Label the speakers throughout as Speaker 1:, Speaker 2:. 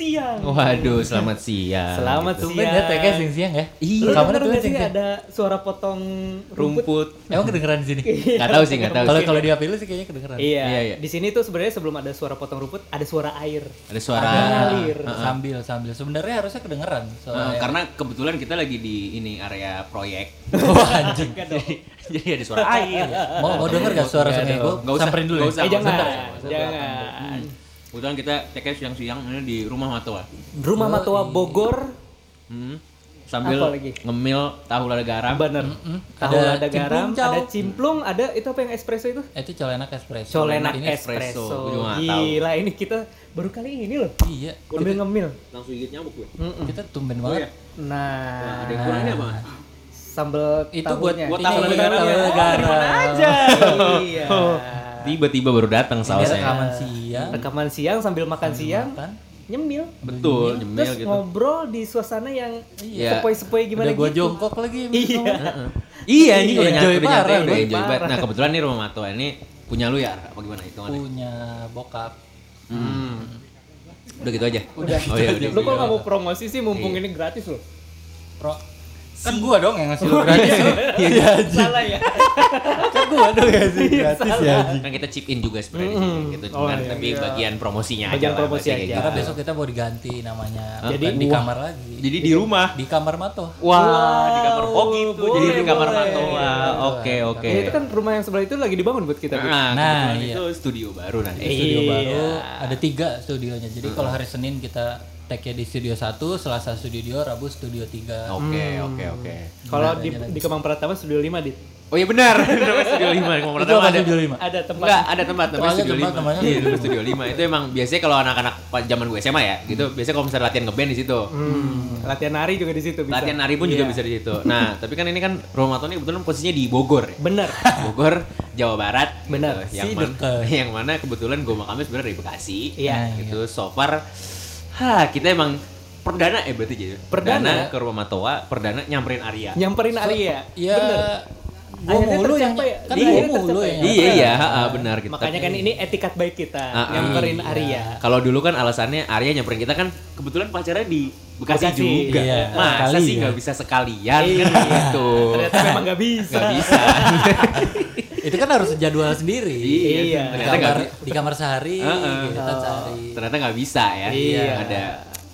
Speaker 1: siang.
Speaker 2: Waduh, selamat siang.
Speaker 1: Selamat
Speaker 2: Gitu.
Speaker 1: Tumben ya TK
Speaker 3: siang-siang ya?
Speaker 2: Iya.
Speaker 1: Lu
Speaker 3: Kamu
Speaker 1: denger
Speaker 3: tuh
Speaker 1: nggak sih
Speaker 3: ceng-ceng.
Speaker 1: ada suara potong rumput?
Speaker 2: Rumput. Eh,
Speaker 3: Emang kedengeran di sini?
Speaker 1: Iya.
Speaker 2: Nggak tahu sih, nggak tahu.
Speaker 3: Kalau kalau di HP lu sih kayaknya kedengeran.
Speaker 1: Iya.
Speaker 2: Iya, iya.
Speaker 1: Di sini tuh sebenarnya sebelum ada suara potong rumput, ada suara air.
Speaker 2: Ada suara.
Speaker 1: Ada
Speaker 3: Ngalir.
Speaker 1: ngalir.
Speaker 3: Ah, Sambil sambil sebenarnya harusnya kedengeran
Speaker 2: Eh,
Speaker 3: soalnya.
Speaker 2: karena kebetulan kita lagi di ini area proyek.
Speaker 3: Wah, anjing.
Speaker 1: Enggak dong.
Speaker 2: Jadi ada suara air.
Speaker 3: Mau mau denger gak
Speaker 2: ah,
Speaker 3: suara
Speaker 2: Nggak
Speaker 3: sungai
Speaker 2: dong.
Speaker 3: gua?
Speaker 2: Nggak usah.
Speaker 3: Samperin dulu.
Speaker 2: Nggak
Speaker 3: ya?
Speaker 2: usah.
Speaker 1: Eh, jangan,
Speaker 2: Bentar.
Speaker 1: jangan.
Speaker 2: Kebetulan kita TK siang-siang ini di rumah Matoa.
Speaker 1: Rumah Matua Bogor,
Speaker 2: Hmm. Sambil
Speaker 1: Apa lagi?
Speaker 2: ngemil tahu lada garam.
Speaker 1: bener. Tahu
Speaker 3: Ada
Speaker 1: ada garam,
Speaker 3: cimplung, cow.
Speaker 1: ada cimplung, ada itu apa yang espresso itu?
Speaker 3: Eh, Itu colenak espresso.
Speaker 1: Colenak
Speaker 3: Ini
Speaker 1: espresso.
Speaker 2: espresso. Gua juga nggak tahu.
Speaker 1: Gila, ini kita baru kali ini loh.
Speaker 3: Iya.
Speaker 1: Ngemil ngemil.
Speaker 2: Langsung gigit nyamuk
Speaker 1: Ah.
Speaker 2: gue.
Speaker 3: Kita tumben banget.
Speaker 1: Nah,
Speaker 2: Ada yang kurang ini apa?
Speaker 1: sambal
Speaker 3: Itu buat
Speaker 1: tahunya.
Speaker 2: Buat tahu lada garam ya?
Speaker 3: Tahu
Speaker 2: Oh,
Speaker 3: lada
Speaker 2: dari
Speaker 3: garam.
Speaker 1: aja. iya.
Speaker 2: Tiba-tiba baru datang
Speaker 3: Ini
Speaker 2: sausnya.
Speaker 3: rekaman siang.
Speaker 1: Rekaman siang sambil makan siang,
Speaker 3: Makan.
Speaker 1: nyemil.
Speaker 2: Betul, nyemil
Speaker 1: Terus
Speaker 2: gitu.
Speaker 1: ngobrol di suasana yang
Speaker 2: Iya.
Speaker 1: sepoi-sepoi gimana
Speaker 3: Udah gua
Speaker 1: gitu.
Speaker 3: jongkok lagi.
Speaker 1: Iya.
Speaker 2: Iya, ini
Speaker 3: Enjoy
Speaker 2: udah nyampe udah
Speaker 3: parah,
Speaker 2: nyampe udah
Speaker 3: Bang.
Speaker 2: enjoy banget. Nah, kebetulan nih rumah Matoa ini punya lu ya? Apa gimana hitungannya?
Speaker 3: Punya bokap.
Speaker 2: Hmm. Udah gitu aja.
Speaker 1: Udah.
Speaker 2: Oh iya, udah.
Speaker 1: Lu kok nggak mau promosi sih mumpung ini gratis loh.
Speaker 3: Pro. Kan gua dong yang ngasih lu gratis. Iya, anjing.
Speaker 1: Salah ya.
Speaker 3: Kan gua dong yang ngasih gratis ya, anjing.
Speaker 2: kan kita chip in juga sebenarnya di
Speaker 1: Mm-mm.
Speaker 2: sini gitu
Speaker 1: Oh,
Speaker 2: cuman
Speaker 1: iya,
Speaker 2: tapi
Speaker 1: iya.
Speaker 2: bagian promosinya
Speaker 1: Bagian
Speaker 2: aja
Speaker 1: promosi
Speaker 2: berarti kayak
Speaker 1: aja.
Speaker 3: Karena
Speaker 2: gitu.
Speaker 3: besok kita mau diganti namanya.
Speaker 2: Hah?
Speaker 3: Jadi
Speaker 1: Jadi-
Speaker 3: di
Speaker 1: Wah.
Speaker 3: kamar lagi.
Speaker 2: jadi di rumah
Speaker 3: di kamar Mato.
Speaker 2: wah
Speaker 1: Wow,
Speaker 2: di kamar oh gitu jadi di
Speaker 1: boleh,
Speaker 2: kamar
Speaker 1: boleh.
Speaker 2: Matoa oke oke
Speaker 1: Ya, itu kan rumah yang sebelah itu lagi dibangun buat kita. Bu.
Speaker 2: nah,
Speaker 3: Nah,
Speaker 2: kebetulan
Speaker 3: iya.
Speaker 2: itu studio baru nanti
Speaker 1: Iya.
Speaker 3: Studio baru ada tiga studionya. Jadi kalau hari Senin kita take di studio 1, Selasa studio 2, Rabu studio 3.
Speaker 2: oke oke oke
Speaker 1: Kalau
Speaker 2: Iya,
Speaker 1: di, di Kemang Pratama Studio 5, Dit.
Speaker 2: oh iya benar namanya studio lima kalau
Speaker 3: Itu
Speaker 2: pertama
Speaker 3: apa
Speaker 2: ada
Speaker 3: studio 5?
Speaker 1: Ada tempat
Speaker 2: Enggak, ada tempat namanya
Speaker 3: Oh, ada
Speaker 2: studio
Speaker 3: tempat,
Speaker 2: lima
Speaker 3: namanya
Speaker 2: Iya,
Speaker 3: studio
Speaker 2: namanya studio lima itu emang biasanya kalau anak-anak pas zaman gue SMA ya, gitu biasanya kalau misalnya latihan ngeband di situ.
Speaker 1: Hmm, latihan nari juga di situ bisa.
Speaker 2: Latihan nari pun juga
Speaker 1: Iya.
Speaker 2: bisa di situ. Nah, tapi kan ini kan rumah Matoa ini kebetulan posisinya di Bogor ya.
Speaker 1: Bener.
Speaker 2: Bogor, Jawa Barat.
Speaker 1: Benar.
Speaker 2: Gitu. Yang
Speaker 3: Si
Speaker 2: mana,
Speaker 3: deket.
Speaker 2: yang mana kebetulan gue makamnya sebenarnya dari Bekasi.
Speaker 1: Iya.
Speaker 2: Gitu. So far, ha, kita emang perdana ya berarti jadi.
Speaker 1: Perdana. Iya,
Speaker 2: ke rumah Matoa, perdana nyamperin Arya.
Speaker 1: Nyamperin Arya.
Speaker 3: Iya.
Speaker 1: Bener.
Speaker 3: Gua
Speaker 1: Akhirnya
Speaker 3: mulu yang
Speaker 1: tercapai ya?
Speaker 3: kan
Speaker 1: Iya,
Speaker 3: gua mulu
Speaker 1: tercapai.
Speaker 3: yang.
Speaker 2: iya iya, ha, ha, benar kita.
Speaker 1: Makanya kan ini etikat baik kita,
Speaker 2: Ah, ah.
Speaker 1: nyamperin Arya.
Speaker 2: Kalau dulu kan alasannya Arya nyamperin kita kan kebetulan pacarnya di Bekasi,
Speaker 1: Bekasi, Iya.
Speaker 2: juga.
Speaker 3: iya.
Speaker 2: Masa
Speaker 3: Sekali
Speaker 2: sih
Speaker 3: ya.
Speaker 2: nggak bisa sekalian kan gitu.
Speaker 1: Ternyata memang gak bisa.
Speaker 2: Nggak bisa.
Speaker 3: Itu kan harus jadwal sendiri.
Speaker 1: Iya.
Speaker 3: Di
Speaker 2: Ternyata nggak
Speaker 3: kamar
Speaker 2: bi-
Speaker 3: di kamar sehari, gitu kan,
Speaker 2: Heeh.
Speaker 3: kita cari.
Speaker 2: ternyata nggak bisa ya.
Speaker 1: Iya.
Speaker 2: Ada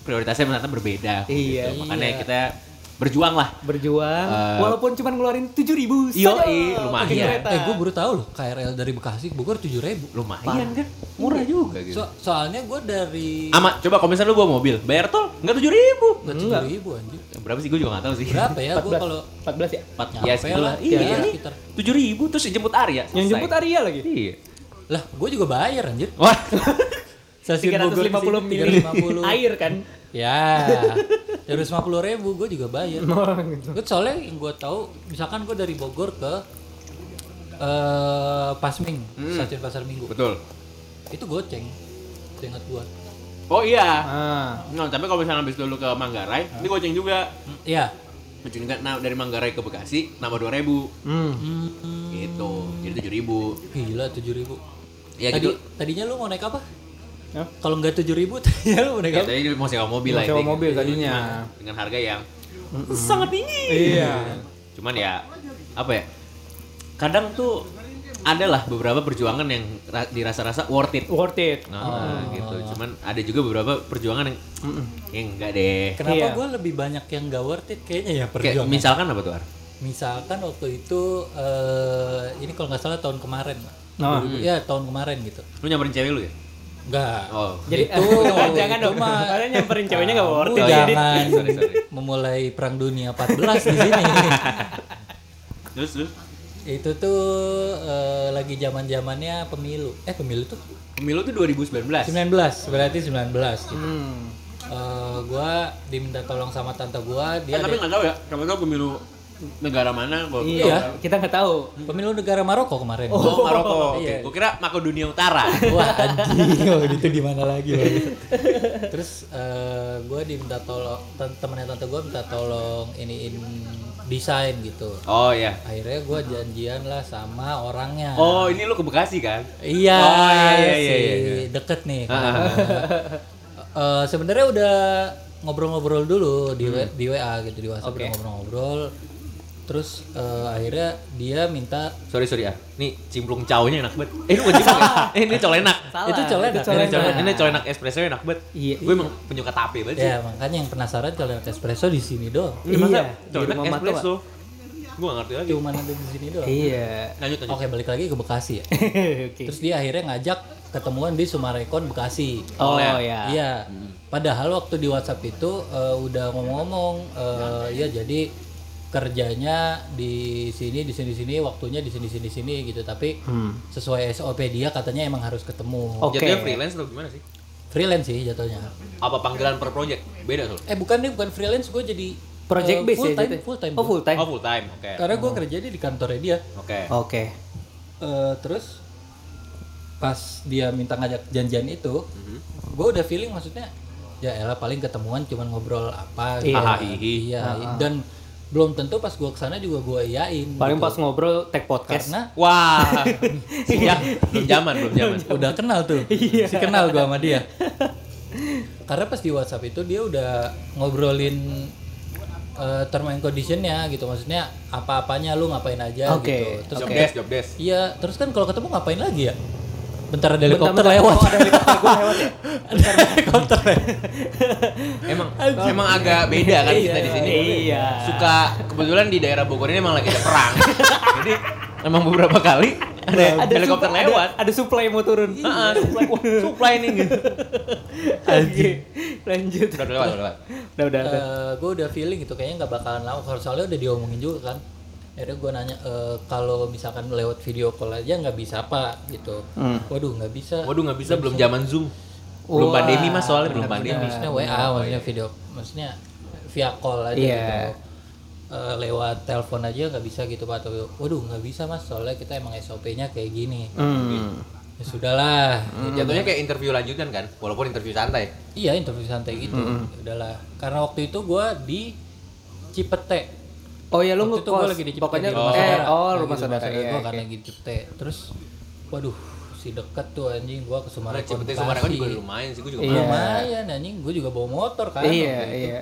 Speaker 2: prioritasnya ternyata berbeda.
Speaker 1: Iya.
Speaker 2: gitu. Makanya
Speaker 3: Iya.
Speaker 2: kita berjuang lah.
Speaker 1: Berjuang,
Speaker 2: Eh,
Speaker 1: walaupun cuma ngeluarin 7.000 ribu
Speaker 2: Yoi, lumayan.
Speaker 3: Eh, gua baru tahu loh KRL dari Bekasi ke Bogor 7000.
Speaker 2: Lumayan kan? Murah
Speaker 1: Iya.
Speaker 2: juga gitu.
Speaker 3: So, soalnya gua dari
Speaker 2: Ama, coba kalau misalnya lu bawa mobil, bayar tol nggak tujuh ribu.
Speaker 3: Nggak 7000 anjir.
Speaker 2: Berapa sih? Gue juga nggak tahu sih.
Speaker 3: Berapa ya gua kalau
Speaker 1: 14 ya?
Speaker 2: Empat
Speaker 3: Nyampe
Speaker 2: ya segitulah.
Speaker 3: lah,
Speaker 2: Iya.
Speaker 3: kira-kira
Speaker 2: nih.
Speaker 3: sekitar.
Speaker 2: Tujuh ribu terus jemput Arya.
Speaker 1: Yang jemput Arya lagi?
Speaker 2: Iya.
Speaker 3: lah gua juga bayar anjir.
Speaker 2: Wah.
Speaker 3: Stasiun Bogor
Speaker 1: 350
Speaker 3: sini,
Speaker 1: mili
Speaker 3: 350.
Speaker 1: air kan?
Speaker 3: Ya, dari lima puluh ribu gue juga bayar. Gue soalnya yang gue tahu, misalkan gue dari Bogor ke eh Pasming,
Speaker 2: Hmm.
Speaker 3: stasiun Pasar Minggu,
Speaker 2: Betul.
Speaker 3: itu goceng, ingat gue.
Speaker 2: Oh iya.
Speaker 1: Ah.
Speaker 2: Nah, tapi kalau misalnya habis dulu ke Manggarai, ini goceng juga.
Speaker 3: Iya,
Speaker 2: Goceng juga. Nah, dari Manggarai ke Bekasi nambah dua ribu.
Speaker 1: Hmm.
Speaker 3: Hmm,
Speaker 2: Gitu. Jadi tujuh ribu.
Speaker 3: gila tujuh ribu.
Speaker 2: Ya
Speaker 3: Tadi,
Speaker 2: gitu.
Speaker 3: tadinya lu mau naik apa?
Speaker 1: Hah?
Speaker 3: Kalau nggak tujuh ribu, tadinya lu mau naik
Speaker 1: Iya
Speaker 2: Ya,
Speaker 3: apa?
Speaker 2: tadi mau sewa mobil lah.
Speaker 1: Sewa
Speaker 2: intinya.
Speaker 1: kan? mobil tadinya.
Speaker 2: Dengan harga yang sangat tinggi.
Speaker 1: Iya.
Speaker 2: Cuman ya apa ya? Kadang tuh adalah beberapa perjuangan yang ra- dirasa-rasa worth it.
Speaker 1: Worth it.
Speaker 2: Nah,
Speaker 1: Oh.
Speaker 2: gitu. Cuman ada juga beberapa perjuangan yang yang enggak deh.
Speaker 3: Kenapa
Speaker 1: Iya.
Speaker 3: gue lebih banyak yang gak worth it kayaknya ya
Speaker 2: Kayak
Speaker 3: perjuangan.
Speaker 2: misalkan apa tuh, Ar?
Speaker 3: misalkan waktu itu eh ini kalau nggak salah tahun kemarin,
Speaker 1: Nah.
Speaker 3: ya tahun kemarin gitu.
Speaker 2: Lu nyamperin cewek lu ya?
Speaker 3: Enggak.
Speaker 2: Oh.
Speaker 1: Jadi
Speaker 3: Itu,
Speaker 1: jangan
Speaker 3: itu
Speaker 1: dong.
Speaker 3: mah.
Speaker 1: Karena nyamperin ceweknya gak worth
Speaker 3: Kamu
Speaker 1: it.
Speaker 2: Oh, iya.
Speaker 3: jangan
Speaker 2: Sorry, sorry.
Speaker 3: memulai perang dunia 14 di sini.
Speaker 2: Terus terus
Speaker 3: itu tuh eh, lagi zaman-zamannya pemilu. Eh pemilu tuh
Speaker 2: pemilu tuh 2019.
Speaker 3: 19, berarti 19 gitu.
Speaker 1: Hmm.
Speaker 3: Eh, gua diminta tolong sama tante gua
Speaker 2: Eh,
Speaker 3: dia
Speaker 2: tapi nggak tahu ya, kamu tahu pemilu negara mana? Gua
Speaker 1: Iya, kita nggak tahu.
Speaker 3: pemilu negara Maroko kemarin.
Speaker 2: Oh, Maroko.
Speaker 3: Iya.
Speaker 2: Oke, gua kira Makedonia Utara.
Speaker 3: Wah anjing, oh, itu di mana lagi? Bang? Terus eh, gua diminta tolong tem- temennya tante gua minta tolong iniin desain gitu.
Speaker 2: Oh iya.
Speaker 3: Akhirnya gua janjian lah sama orangnya.
Speaker 2: Oh, ini lu ke Bekasi kan?
Speaker 3: Iya,
Speaker 2: Oh, iya, iya,
Speaker 3: si
Speaker 2: iya, iya.
Speaker 3: deket nih.
Speaker 2: Ah, ah, ah.
Speaker 3: Eh, Eh, sebenarnya udah ngobrol-ngobrol dulu di W- di WA gitu di WhatsApp udah ngobrol-ngobrol. Terus eh, akhirnya dia minta
Speaker 2: Sorry sorry ah. Nih cimplung cownya enak banget. Eh ini bukan cimplung. ya? Eh ini colenak.
Speaker 1: Salah.
Speaker 3: Itu colenak.
Speaker 1: Itu
Speaker 2: Ini
Speaker 1: colenak.
Speaker 2: colenak. Ini colenak espresso enak banget.
Speaker 1: Iya.
Speaker 2: Gue emang penyuka tape banget sih.
Speaker 3: ya makanya yang penasaran kalau espresso di sini doang.
Speaker 2: Ini masa
Speaker 1: Iya, di
Speaker 2: colenak
Speaker 1: rumah Mat
Speaker 2: espresso. Gue gak ngerti lagi.
Speaker 3: Cuman ada di sini doang.
Speaker 1: Iya.
Speaker 2: Lanjut lanjut.
Speaker 3: Oke, balik lagi ke Bekasi ya.
Speaker 1: Oke.
Speaker 3: Terus dia akhirnya ngajak ketemuan di Sumarekon Bekasi.
Speaker 1: Oh
Speaker 2: Oleh.
Speaker 1: ya.
Speaker 3: Iya. Padahal waktu di WhatsApp itu eh, udah ngomong-ngomong eh, ya jadi kerjanya di sini di sini sini waktunya di sini sini sini gitu tapi
Speaker 1: Hmm.
Speaker 3: sesuai SOP dia katanya emang harus ketemu.
Speaker 1: Oh. Oke.
Speaker 2: Jatuhnya freelance atau gimana sih?
Speaker 3: Freelance sih jatuhnya.
Speaker 2: Apa panggilan per project? Beda soalnya.
Speaker 3: Eh bukan nih bukan freelance gue jadi
Speaker 1: Project
Speaker 3: eh,
Speaker 1: base
Speaker 3: full
Speaker 1: ya.
Speaker 3: time,
Speaker 1: Jete?
Speaker 3: full time.
Speaker 1: Oh
Speaker 3: gua.
Speaker 1: full time.
Speaker 2: Oh full time. Oke.
Speaker 3: Karena gue kerja di kantornya dia.
Speaker 2: Oke.
Speaker 1: Oke.
Speaker 3: Eh, terus pas dia minta ngajak janjian itu, gue udah feeling maksudnya ya elah paling ketemuan cuman ngobrol apa gitu.
Speaker 2: Hahaha, hihi.
Speaker 3: Iya, dan belum tentu pas gue kesana juga gue iyain.
Speaker 1: Paling
Speaker 3: gitu.
Speaker 1: pas ngobrol tag podcast.
Speaker 3: karena
Speaker 2: Wah. Ya, belum zaman, belum zaman.
Speaker 3: udah kenal tuh,
Speaker 1: Iya.
Speaker 3: si kenal gue sama dia. Karena pas di WhatsApp itu dia udah ngobrolin eh, term and conditionnya gitu, maksudnya apa-apanya lu ngapain aja
Speaker 1: Oke,
Speaker 3: gitu. Terus
Speaker 2: Job
Speaker 1: Oke.
Speaker 2: desk, job desk.
Speaker 3: Iya, terus kan kalau ketemu ngapain lagi ya? Bentar ada helikopter lewat.
Speaker 1: Oh, ada helikopter gua lewat ya.
Speaker 3: Ada helikopter lewat.
Speaker 2: Emang emang agak beda kan kita di sini.
Speaker 1: Iya.
Speaker 2: Suka kebetulan di daerah Bogor ini emang lagi ada perang. Jadi emang beberapa kali ada, helikopter
Speaker 1: sup- ada-
Speaker 2: lewat.
Speaker 1: Ada, supply mau turun.
Speaker 2: Heeh, supply, supply nih gitu.
Speaker 1: Oke, Lanjut.
Speaker 2: Udah udah lewat, udah lewat.
Speaker 1: Udah udah. udah.
Speaker 3: gue udah feeling gitu kayaknya nggak bakalan lama kalau soalnya udah diomongin juga kan akhirnya gue nanya eh, kalau misalkan lewat video call aja nggak bisa apa gitu
Speaker 1: Hmm.
Speaker 3: waduh nggak bisa
Speaker 2: Waduh nggak bisa, belum zaman zoom. Belum
Speaker 3: Wah,
Speaker 2: pandemi mas soalnya belum
Speaker 3: bener-bener.
Speaker 2: pandemi.
Speaker 3: maksudnya WA maksudnya video maksudnya via call aja
Speaker 1: Iya.
Speaker 3: gitu Eh, lewat telepon aja nggak bisa gitu pak atau waduh nggak bisa mas soalnya kita emang SOP-nya kayak gini
Speaker 1: Hmm.
Speaker 3: ya sudahlah
Speaker 2: Jatuhnya kayak interview lanjutan kan, walaupun interview santai.
Speaker 3: Iya interview santai gitu, udahlah. Karena waktu itu gue di Cipete.
Speaker 1: Oh ya lu
Speaker 3: waktu itu gue
Speaker 1: ngekos.
Speaker 3: lagi di iya. Cipete.
Speaker 1: Pokoknya
Speaker 3: di
Speaker 1: rumah saudara. Oh, rumah saudara. iya,
Speaker 3: Gue
Speaker 1: oke.
Speaker 3: karena kan lagi di Cipete. Terus, waduh, si deket tuh anjing gue ke
Speaker 2: Karena
Speaker 3: Sumarekon.
Speaker 2: Cipete
Speaker 3: Bekasi.
Speaker 2: Sumarekon kan juga lumayan sih, gue juga
Speaker 1: Iya.
Speaker 3: Lumayan anjing, gue juga bawa motor kan.
Speaker 1: Iya,
Speaker 3: waktu itu.
Speaker 1: iya.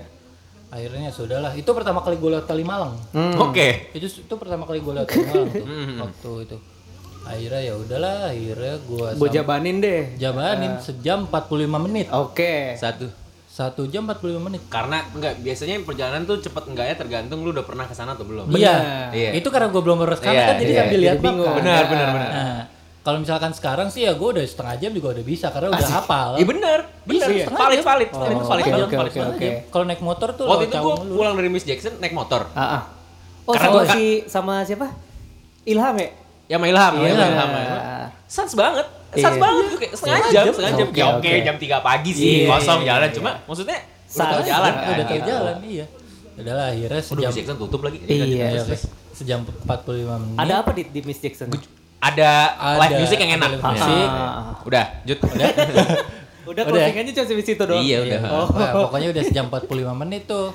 Speaker 3: Akhirnya ya sudahlah. Itu pertama kali gue lewat Kalimalang.
Speaker 2: pernah. Oke.
Speaker 3: Itu itu pertama kali gue lewat Kalimalang tuh
Speaker 2: Mm-hmm.
Speaker 3: waktu itu. Akhirnya ya udahlah, akhirnya gue
Speaker 1: Gua Ah. jabanin deh.
Speaker 3: jabanin sejam 45 menit.
Speaker 1: Oke.
Speaker 2: Satu.
Speaker 3: Satu jam 45 menit.
Speaker 2: Karena enggak biasanya perjalanan tuh cepet enggaknya tergantung lu udah pernah ke sana atau belum.
Speaker 3: Iya.
Speaker 2: Iya.
Speaker 3: Itu karena gue belum beres karena
Speaker 2: Iya,
Speaker 3: kan jadi
Speaker 2: iya.
Speaker 3: sambil
Speaker 1: Jadi
Speaker 3: lihat map
Speaker 1: bingung.
Speaker 3: kan.
Speaker 2: Benar, benar, benar.
Speaker 3: Nah, kalau misalkan sekarang sih ya gue udah setengah jam juga udah bisa karena udah hafal.
Speaker 2: Iya bener, bener,
Speaker 3: Iya.
Speaker 2: valid, valid,
Speaker 1: Oh,
Speaker 2: valid, valid,
Speaker 1: oke,
Speaker 2: banget,
Speaker 1: oke,
Speaker 2: valid
Speaker 1: oke,
Speaker 2: banget.
Speaker 1: oke.
Speaker 3: Kalau naik motor tuh
Speaker 2: Waktu
Speaker 3: lewat
Speaker 2: itu gue
Speaker 3: Cawang dulu.
Speaker 2: pulang dari Miss Jackson naik motor.
Speaker 1: Ah, ah. Oh,
Speaker 2: Karena
Speaker 1: sama
Speaker 2: gua-
Speaker 1: si sama siapa? Ilham ya? Iya.
Speaker 2: Ya sama Ilham, ya sama
Speaker 1: Ilham.
Speaker 2: Ilham. ya. Sans banget, Eh, sans
Speaker 1: Iya.
Speaker 2: banget tuh kayak setengah
Speaker 3: Setengah
Speaker 2: jam,
Speaker 3: jam.
Speaker 2: setengah jam.
Speaker 1: Oke,
Speaker 2: Ya oke,
Speaker 1: oke.
Speaker 2: jam 3 pagi sih
Speaker 1: Iya,
Speaker 2: kosong
Speaker 1: iya,
Speaker 2: jalan,
Speaker 1: iya.
Speaker 2: cuma maksudnya udah
Speaker 1: Sans.
Speaker 2: tahu jalan kan.
Speaker 3: udah tahu
Speaker 2: gitu.
Speaker 3: jalan iya. Udah lah akhirnya
Speaker 2: Aduh,
Speaker 3: sejam
Speaker 2: Miss Jackson tutup lagi.
Speaker 1: Iya.
Speaker 3: ya, sejam 45 menit.
Speaker 1: Ada apa di, di Miss Jackson?
Speaker 2: Ada live
Speaker 3: Ada-
Speaker 2: music yang enak.
Speaker 3: ada live
Speaker 2: Ya.
Speaker 3: music.
Speaker 2: Udah, Jut. Udah.
Speaker 1: Udah
Speaker 3: Udah.
Speaker 1: closingannya cuma sampai situ doang.
Speaker 2: Iya, udah.
Speaker 1: Oh.
Speaker 3: Nah, pokoknya udah sejam 45 menit tuh.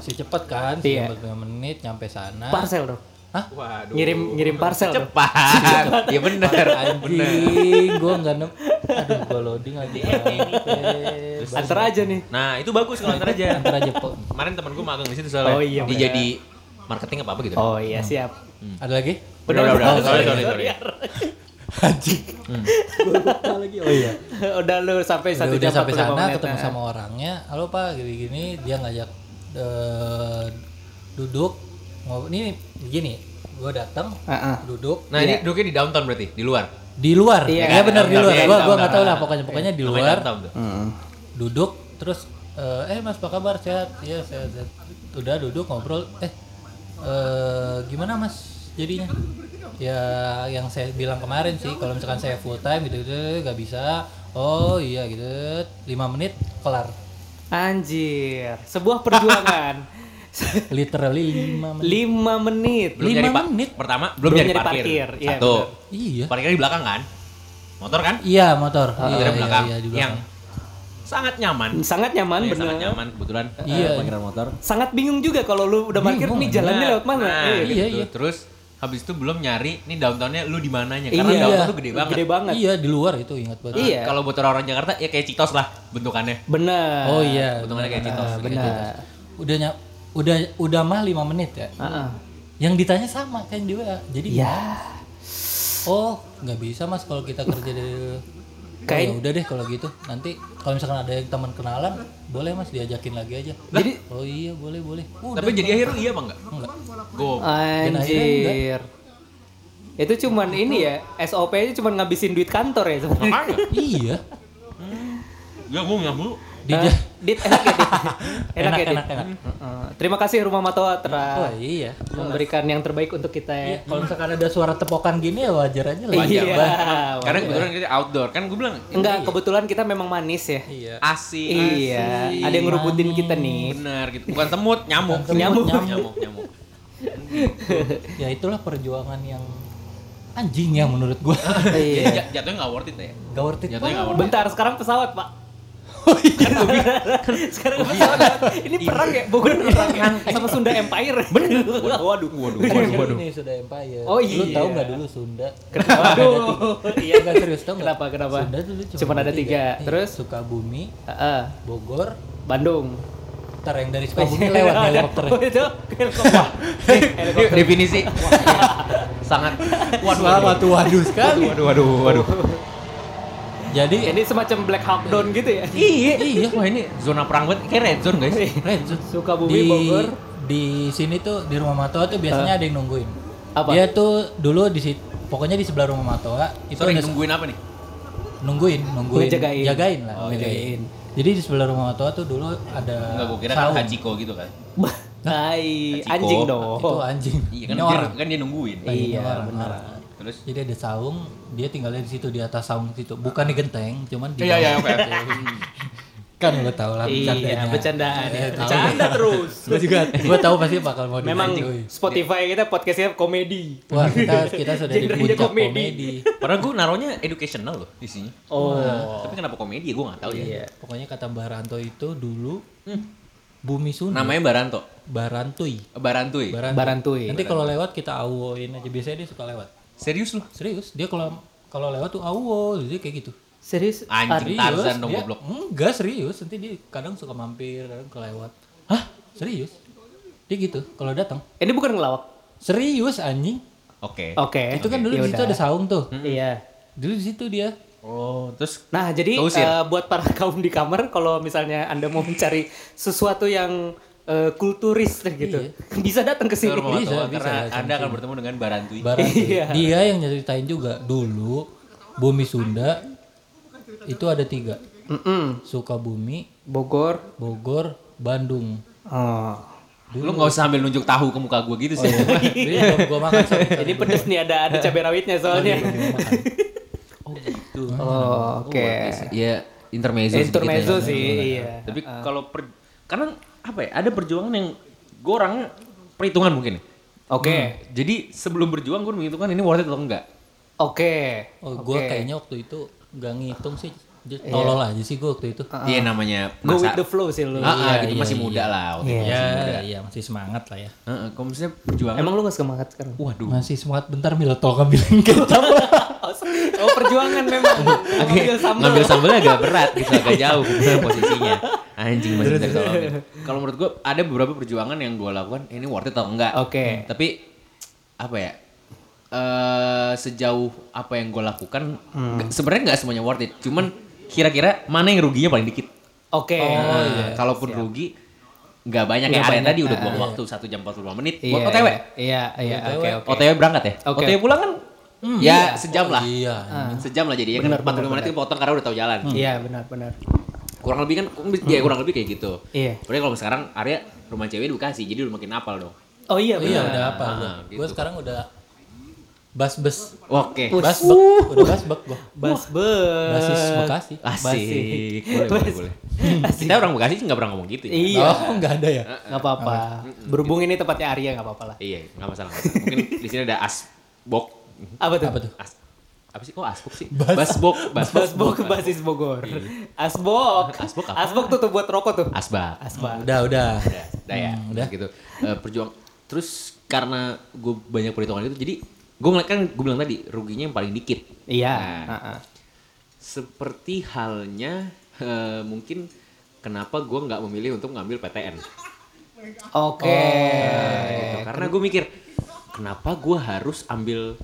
Speaker 3: Si cepet kan,
Speaker 1: Iya.
Speaker 3: sejam 45 menit nyampe sana.
Speaker 1: Parcel dong.
Speaker 2: Waduh.
Speaker 1: Ngirim ngirim parcel. dong.
Speaker 2: cepat. Iya bener, bener.
Speaker 3: Anjing, gue nggak nem. Aduh, gue loading lagi.
Speaker 2: Iya,
Speaker 1: Antar aja nih.
Speaker 2: Nah, itu bagus kalau antar aja.
Speaker 3: Antar aja po.
Speaker 2: Kemarin temen gue magang di situ soalnya.
Speaker 1: Oh, iya,
Speaker 2: Dia
Speaker 1: bener.
Speaker 2: jadi marketing apa apa gitu.
Speaker 1: Oh iya, siap.
Speaker 2: Hmm.
Speaker 3: Ada lagi?
Speaker 2: Udah, udah, udah. Sorry, sorry, sorry.
Speaker 3: Anjing. Gua lupa lagi. Oh iya.
Speaker 1: udah lu sampai
Speaker 3: Ya Udah,
Speaker 1: satu
Speaker 3: udah
Speaker 1: jam
Speaker 3: sampai
Speaker 1: 45
Speaker 3: sana
Speaker 1: menit,
Speaker 3: ketemu
Speaker 1: nah.
Speaker 3: sama orangnya. Halo Pak, gini-gini dia ngajak eh, duduk. Ngob- Ini gini, gua datang
Speaker 1: Heeh.
Speaker 3: duduk
Speaker 2: Nah, ini duduknya di downtown berarti, di luar.
Speaker 3: di luar.
Speaker 1: Iya,
Speaker 3: Iya,
Speaker 1: kan?
Speaker 3: benar di
Speaker 2: Downtown,
Speaker 3: luar.
Speaker 2: iya,
Speaker 3: Gua
Speaker 2: di
Speaker 3: gua
Speaker 2: downtown.
Speaker 3: nggak tahu lah pokoknya pokoknya
Speaker 1: Iya,
Speaker 3: di
Speaker 2: Namanya
Speaker 3: luar.
Speaker 2: Downtown tuh.
Speaker 1: Hmm.
Speaker 3: duduk terus eh eh mas apa kabar sehat iya sehat, sehat. udah duduk ngobrol eh eh, gimana mas jadinya ya yang saya bilang kemarin sih kalau misalkan saya full time gitu gitu nggak bisa oh iya gitu lima menit kelar
Speaker 1: Anjir, sebuah perjuangan.
Speaker 3: literally lima menit
Speaker 1: Lima menit.
Speaker 2: Belum
Speaker 3: Lima
Speaker 2: jadi pa-
Speaker 3: menit.
Speaker 2: Pertama, belum,
Speaker 1: Belum
Speaker 2: jadi
Speaker 1: nyari
Speaker 2: parkir.
Speaker 1: parkir, iya,
Speaker 2: Satu.
Speaker 3: iya
Speaker 2: Parkirnya di belakang kan? Motor kan?
Speaker 3: iya motor iya,
Speaker 2: Parkirnya
Speaker 3: iya,
Speaker 2: belakang.
Speaker 3: iya, di
Speaker 2: Yang
Speaker 3: belakang.
Speaker 2: sangat nyaman.
Speaker 1: Sangat nyaman,
Speaker 2: Iya,
Speaker 1: Hmm, bener.
Speaker 2: sangat nyaman kebetulan.
Speaker 3: iya
Speaker 4: parkiran motor
Speaker 1: Sangat bingung juga kalau lu udah parkir
Speaker 3: Bingung,
Speaker 1: nih jalannya lewat mana.
Speaker 2: Nah,
Speaker 1: Iya.
Speaker 2: gitu.
Speaker 3: Iya, iya.
Speaker 2: Terus habis itu belum nyari nih downtownnya lu di mananya karena
Speaker 1: Iya.
Speaker 2: downtown tuh gede banget.
Speaker 1: Gede banget.
Speaker 3: Iya di luar itu ingat banget.
Speaker 1: Iya.
Speaker 2: Kalau buat orang-orang Jakarta ya kayak Citos lah bentukannya.
Speaker 1: Bener.
Speaker 3: Oh iya.
Speaker 2: Bentukannya kayak gitu. Citos.
Speaker 1: Ah, bener.
Speaker 3: Udah nya- udah udah mah 5 menit ya.
Speaker 1: Heeh.
Speaker 3: Yang ditanya sama kan di WA. Jadi
Speaker 1: Ya.
Speaker 3: Oh, nggak bisa Mas kalau kita kerja dari Oh,
Speaker 1: Kayak-
Speaker 3: ya udah deh kalau gitu. Nanti kalau misalkan ada yang teman kenalan, boleh Mas diajakin lagi aja.
Speaker 1: Jadi
Speaker 3: Oh iya, boleh, boleh. Udah.
Speaker 2: Tapi jadi akhirnya iya apa enggak?
Speaker 3: Enggak.
Speaker 2: Go.
Speaker 3: Dan akhirnya
Speaker 1: anjir. Itu cuman ini ya, SOP-nya cuman ngabisin duit kantor ya sebenarnya.
Speaker 2: Makanya.
Speaker 3: iya.
Speaker 2: Gue mau mulu.
Speaker 3: Dija.
Speaker 1: Eh, Dit, enak ya, Dit. Enak,
Speaker 3: Enak,
Speaker 1: ya, Dit.
Speaker 3: enak, enak.
Speaker 1: Heeh. Terima kasih Rumah Matawatra
Speaker 2: Ah.
Speaker 3: Oh iya.
Speaker 1: memberikan yang terbaik untuk kita
Speaker 3: Iya,
Speaker 1: ya.
Speaker 3: kalau misalkan ada suara tepokan gini ya wajar aja lah.
Speaker 1: Iya.
Speaker 3: Bah-
Speaker 2: Karena kebetulan kita outdoor kan gue bilang
Speaker 1: Enggak, kebetulan kita memang manis ya.
Speaker 3: Iya.
Speaker 2: asik.
Speaker 1: Iya, ada yang ngerubutin kita nih.
Speaker 2: Bener gitu. Bukan semut, nyamuk.
Speaker 3: Bukan semut, Nyamuk. nyamuk.
Speaker 2: nyamuk, nyamuk.
Speaker 3: Ya itulah perjuangan yang anjing ya menurut gua.
Speaker 2: Jadi
Speaker 1: Iya.
Speaker 2: jat- jatuhnya nggak worth it ya.
Speaker 3: Gak worth it
Speaker 2: Jatuhnya nggak
Speaker 3: banget.
Speaker 2: worth it.
Speaker 1: Bentar, sekarang pesawat, Pak. Kan sekarang pesawat. Ini perang ya, Bogor perang ya sama Sunda Empire. Bener. Waduh, waduh.
Speaker 3: Waduh, Ini sudah empire.
Speaker 1: Oh,
Speaker 3: Lu
Speaker 1: iya.
Speaker 3: tahu nggak dulu Sunda?
Speaker 1: Waduh.
Speaker 3: Iya nggak serius tahu nggak?
Speaker 1: Kenapa, kenapa?
Speaker 3: Sunda dulu cuma,
Speaker 1: Cuman ada tiga.
Speaker 3: Iya,
Speaker 1: Terus?
Speaker 3: Sukabumi,
Speaker 1: Heeh.
Speaker 3: Bogor,
Speaker 1: Bandung.
Speaker 3: ntar yang dari Sukabumi lewat helikopter. ya.
Speaker 1: Oh, itu helikopter.
Speaker 2: Yuk, definisi. Sangat. Waduh, waduh,
Speaker 3: Waduh, waduh sekali.
Speaker 2: waduh, waduh, waduh.
Speaker 3: Jadi
Speaker 1: Ini semacam Black Hawk Down gitu ya.
Speaker 2: Iya, iya. Wah ini zona perang banget. Kayak red zone guys.
Speaker 3: Renzo,
Speaker 1: Sukabumi, Bogor.
Speaker 3: di sini tuh di rumah Matoa tuh biasanya ada yang nungguin.
Speaker 1: Apa?
Speaker 3: Dia tuh dulu di situ, pokoknya di sebelah rumah Matoa itu
Speaker 2: Sorry,
Speaker 3: ada
Speaker 2: nungguin apa nih?
Speaker 3: nungguin, nungguin,
Speaker 1: Ngejagain.
Speaker 3: jagain lah.
Speaker 1: Oh, jagain.
Speaker 3: Jadi di sebelah rumah Matoa tuh dulu ada
Speaker 2: Enggak, gue kira kan
Speaker 3: saung.
Speaker 2: Hachiko gitu kan.
Speaker 1: Hai,
Speaker 2: Hachiko.
Speaker 1: anjing
Speaker 3: Itu
Speaker 1: dong.
Speaker 3: anjing.
Speaker 2: Iya kan,
Speaker 3: Nyor.
Speaker 2: dia, kan dia nungguin.
Speaker 1: Oh. Iya,
Speaker 3: Nyor,
Speaker 1: benar.
Speaker 3: nyor.
Speaker 2: Terus?
Speaker 3: Jadi ada saung, dia tinggalnya di situ di atas saung situ, bukan di genteng, cuman di
Speaker 2: Iya, iya, oke.
Speaker 3: kan lo tau lah
Speaker 1: Iya,
Speaker 3: bercandanya.
Speaker 1: bercandaan ya.
Speaker 3: Iya, tahu.
Speaker 1: Bercanda terus.
Speaker 3: Gua juga, gua tahu pasti bakal mau
Speaker 1: Memang
Speaker 3: dimajuin.
Speaker 1: Spotify kita podcastnya komedi.
Speaker 3: Wah kita kita sudah di
Speaker 1: Genrenya
Speaker 3: puncak
Speaker 1: komedi.
Speaker 3: komedi.
Speaker 2: Padahal gue naruhnya educational loh isinya.
Speaker 1: Oh,
Speaker 2: Tapi kenapa komedi gue nggak tahu ya.
Speaker 1: iya.
Speaker 3: Pokoknya kata Baranto itu dulu bumi Sunda.
Speaker 2: Namanya Baranto.
Speaker 3: Barantui.
Speaker 2: Barantui.
Speaker 3: Barantui.
Speaker 1: Barantui.
Speaker 3: Nanti kalau lewat kita awoin aja biasanya dia suka lewat.
Speaker 2: Serius loh.
Speaker 3: Serius dia kalau kalau lewat tuh awo jadi kayak gitu.
Speaker 1: Serius?
Speaker 2: Anjing Tarzan dong
Speaker 3: dia,
Speaker 2: goblok.
Speaker 3: Enggak serius nanti dia kadang suka mampir kadang kelewat. Hah serius? Dia gitu kalau datang.
Speaker 1: Eh, Ini bukan ngelawak.
Speaker 3: Serius anjing.
Speaker 2: Oke.
Speaker 1: Oke. ya
Speaker 3: Itu kan dulu di situ ada saung tuh.
Speaker 1: Iya.
Speaker 3: Dulu di situ dia.
Speaker 2: Oh, terus
Speaker 1: Nah, jadi
Speaker 2: Keusir.
Speaker 1: eh, buat para kaum di kamar kalau misalnya Anda mau mencari sesuatu yang eh, kulturis
Speaker 3: Iya.
Speaker 1: gitu, bisa datang ke sini.
Speaker 2: Rumah
Speaker 3: Bisa,
Speaker 2: Tua,
Speaker 3: bisa,
Speaker 2: karena
Speaker 3: bisa,
Speaker 2: Anda akan bertemu dengan Barantui.
Speaker 3: Barantui.
Speaker 1: Iya.
Speaker 3: Dia yang nyeritain juga dulu bumi Sunda itu ada tiga
Speaker 1: Mm-mm.
Speaker 3: Sukabumi,
Speaker 1: Bogor.
Speaker 3: Bogor, Bandung.
Speaker 1: Oh.
Speaker 2: Lu nggak usah sambil nunjuk tahu ke muka gue gitu sih.
Speaker 3: Jadi belum gua makan sama sekali.
Speaker 1: iya. Jadi pedes nih ada ada cabai rawitnya soalnya.
Speaker 3: Iya,
Speaker 2: Oh gitu.
Speaker 1: Oh, oke.
Speaker 2: Ya intermezzo. sedikit
Speaker 1: Intermezzo
Speaker 2: ya.
Speaker 1: sih, iya.
Speaker 2: Tapi kalau per, karena apa ya? Ada perjuangan yang gue orangnya perhitungan mungkin. ya.
Speaker 1: Oke.
Speaker 3: Hmm.
Speaker 2: Jadi sebelum berjuang gue menghitungkan ini worth it atau enggak.
Speaker 1: Oke. Iya.
Speaker 3: Oh, gua kayaknya waktu itu nggak ngitung sih. Dia Tolol aja sih gua waktu itu.
Speaker 1: Ah,
Speaker 2: Iya namanya
Speaker 1: Go
Speaker 2: masa-
Speaker 1: with the flow sih lu.
Speaker 2: Ah, ah,
Speaker 3: Iya,
Speaker 2: gitu
Speaker 3: iya,
Speaker 2: masih
Speaker 3: iya.
Speaker 2: muda lah. waktu itu.
Speaker 3: Ya, iya masih semangat lah ya.
Speaker 2: Heeh, kalau misalnya perjuangan.
Speaker 1: Emang lu gak suka makan sekarang?
Speaker 2: Waduh.
Speaker 3: Masih semangat bentar Milo tol ngambilin kecap.
Speaker 1: Oh perjuangan memang. Ambil sambal.
Speaker 2: ngambil sambelnya agak berat gitu agak jauh misalnya posisinya anjing masih tertolongin kalau menurut gue ada beberapa perjuangan yang gue lakukan ini worth it atau enggak
Speaker 1: Oke.
Speaker 2: Hmm, tapi apa ya eh sejauh apa yang gue lakukan
Speaker 1: Hmm.
Speaker 2: nggak- sebenarnya nggak semuanya worth it cuman kira-kira mana yang ruginya paling dikit
Speaker 1: Oke.
Speaker 2: Nah,
Speaker 1: iya.
Speaker 2: kalaupun rugi nggak banyak ya Arya tadi udah buang waktu satu jam 45 menit buat OTW
Speaker 1: Nah, Iya, iya, oke, oke.
Speaker 2: OTW berangkat ya
Speaker 1: Oke. Hmm.
Speaker 2: OTW pulang kan ya sejam lah
Speaker 3: Iya.
Speaker 2: sejam lah jadi ya kan 45 menit potong karena udah tahu jalan
Speaker 1: Iya, benar, benar.
Speaker 2: kurang lebih kan ya kurang lebih kayak gitu.
Speaker 1: Iya.
Speaker 2: Berarti kalau sekarang Arya rumah cewek di Bekasi jadi udah makin apal dong.
Speaker 1: Oh iya,
Speaker 3: Oh, iya
Speaker 1: benar. gitu.
Speaker 3: udah apa? gua. Gua sekarang udah bas-bes.
Speaker 2: Oke.
Speaker 1: Us.
Speaker 3: Bas-bek. Udah bas-bek gua.
Speaker 1: Bas ber.
Speaker 3: Basis Bekasi.
Speaker 1: Ah,
Speaker 2: Asik. Boleh, boleh, boleh. Kita orang Bekasi nggak pernah ngomong gitu ya.
Speaker 1: Iya,
Speaker 3: Oh, nggak ada ya?
Speaker 1: nggak apa-apa. Berhubung ini tempatnya Arya nggak apa-apa lah.
Speaker 2: Iya, nggak masalah. nggak masalah. Mungkin di sini ada asbok.
Speaker 1: Apa tuh?
Speaker 3: Apa tuh?
Speaker 2: As apa sih kok asbok sih?
Speaker 3: Bas-
Speaker 2: Basbok,
Speaker 1: Basbok
Speaker 2: Basbok.
Speaker 1: basis Bogor. Asbok.
Speaker 2: Asbok apa?
Speaker 1: Asbok tuh, tuh buat rokok tuh.
Speaker 2: Asbak.
Speaker 1: Asbak.
Speaker 3: Udah, udah.
Speaker 2: Udah, udah ya.
Speaker 3: Hmm,
Speaker 2: udah
Speaker 3: udah.
Speaker 2: gitu. Eh, perjuang terus karena gue banyak perhitungan itu jadi gue ngeliat kan gue bilang tadi ruginya yang paling dikit
Speaker 1: Iya.
Speaker 2: Nah,
Speaker 1: Heeh.
Speaker 2: seperti halnya eh, mungkin kenapa gue nggak memilih untuk ngambil PTN
Speaker 1: Oke.
Speaker 2: Nah, gitu. karena gue mikir kenapa gue harus ambil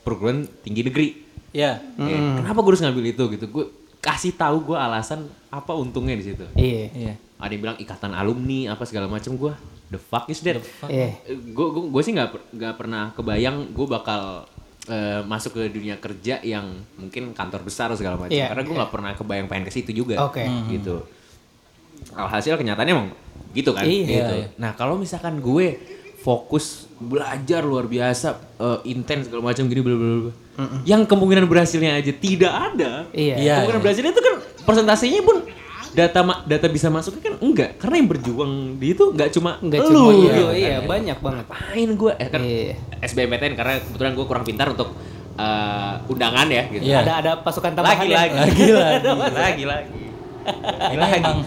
Speaker 2: perguruan tinggi negeri
Speaker 1: Iya.
Speaker 5: Ya.
Speaker 2: Eh, kenapa gue harus ngambil itu gitu gue kasih tahu gue alasan apa untungnya di situ
Speaker 1: Iya.
Speaker 3: Iya.
Speaker 2: ada yang bilang ikatan alumni apa segala macam gue the fuck is that
Speaker 1: Iya.
Speaker 2: gue gue sih nggak per- nggak pernah kebayang gue bakal eh, masuk ke dunia kerja yang mungkin kantor besar segala macam
Speaker 1: Iya,
Speaker 2: karena gue nggak pernah kebayang pengen ke situ juga
Speaker 1: Oke.
Speaker 2: gitu alhasil kenyataannya emang gitu kan
Speaker 1: Iya,
Speaker 2: gitu.
Speaker 3: iya.
Speaker 2: nah kalau misalkan gue fokus belajar luar biasa eh, intens segala macam gini bla bla bla, bla. yang kemungkinan berhasilnya aja tidak ada
Speaker 1: Iya.
Speaker 3: Iya.
Speaker 2: kemungkinan berhasilnya itu kan persentasenya pun data ma- data bisa masuknya kan enggak karena yang berjuang di itu enggak cuma
Speaker 1: Enggak
Speaker 2: lu,
Speaker 1: cuma iya,
Speaker 2: gitu
Speaker 1: iya,
Speaker 2: kan
Speaker 1: banyak banget.
Speaker 2: ngapain gue eh kan
Speaker 1: Iya.
Speaker 2: SBMPTN karena kebetulan gue kurang pintar untuk eh, undangan ya gitu
Speaker 3: Iya.
Speaker 1: Ada ada pasukan tambahan
Speaker 2: lagi,
Speaker 1: ya?
Speaker 2: lagi
Speaker 3: Lagi, lagi.
Speaker 2: lagi lagi lagi
Speaker 3: Ini emang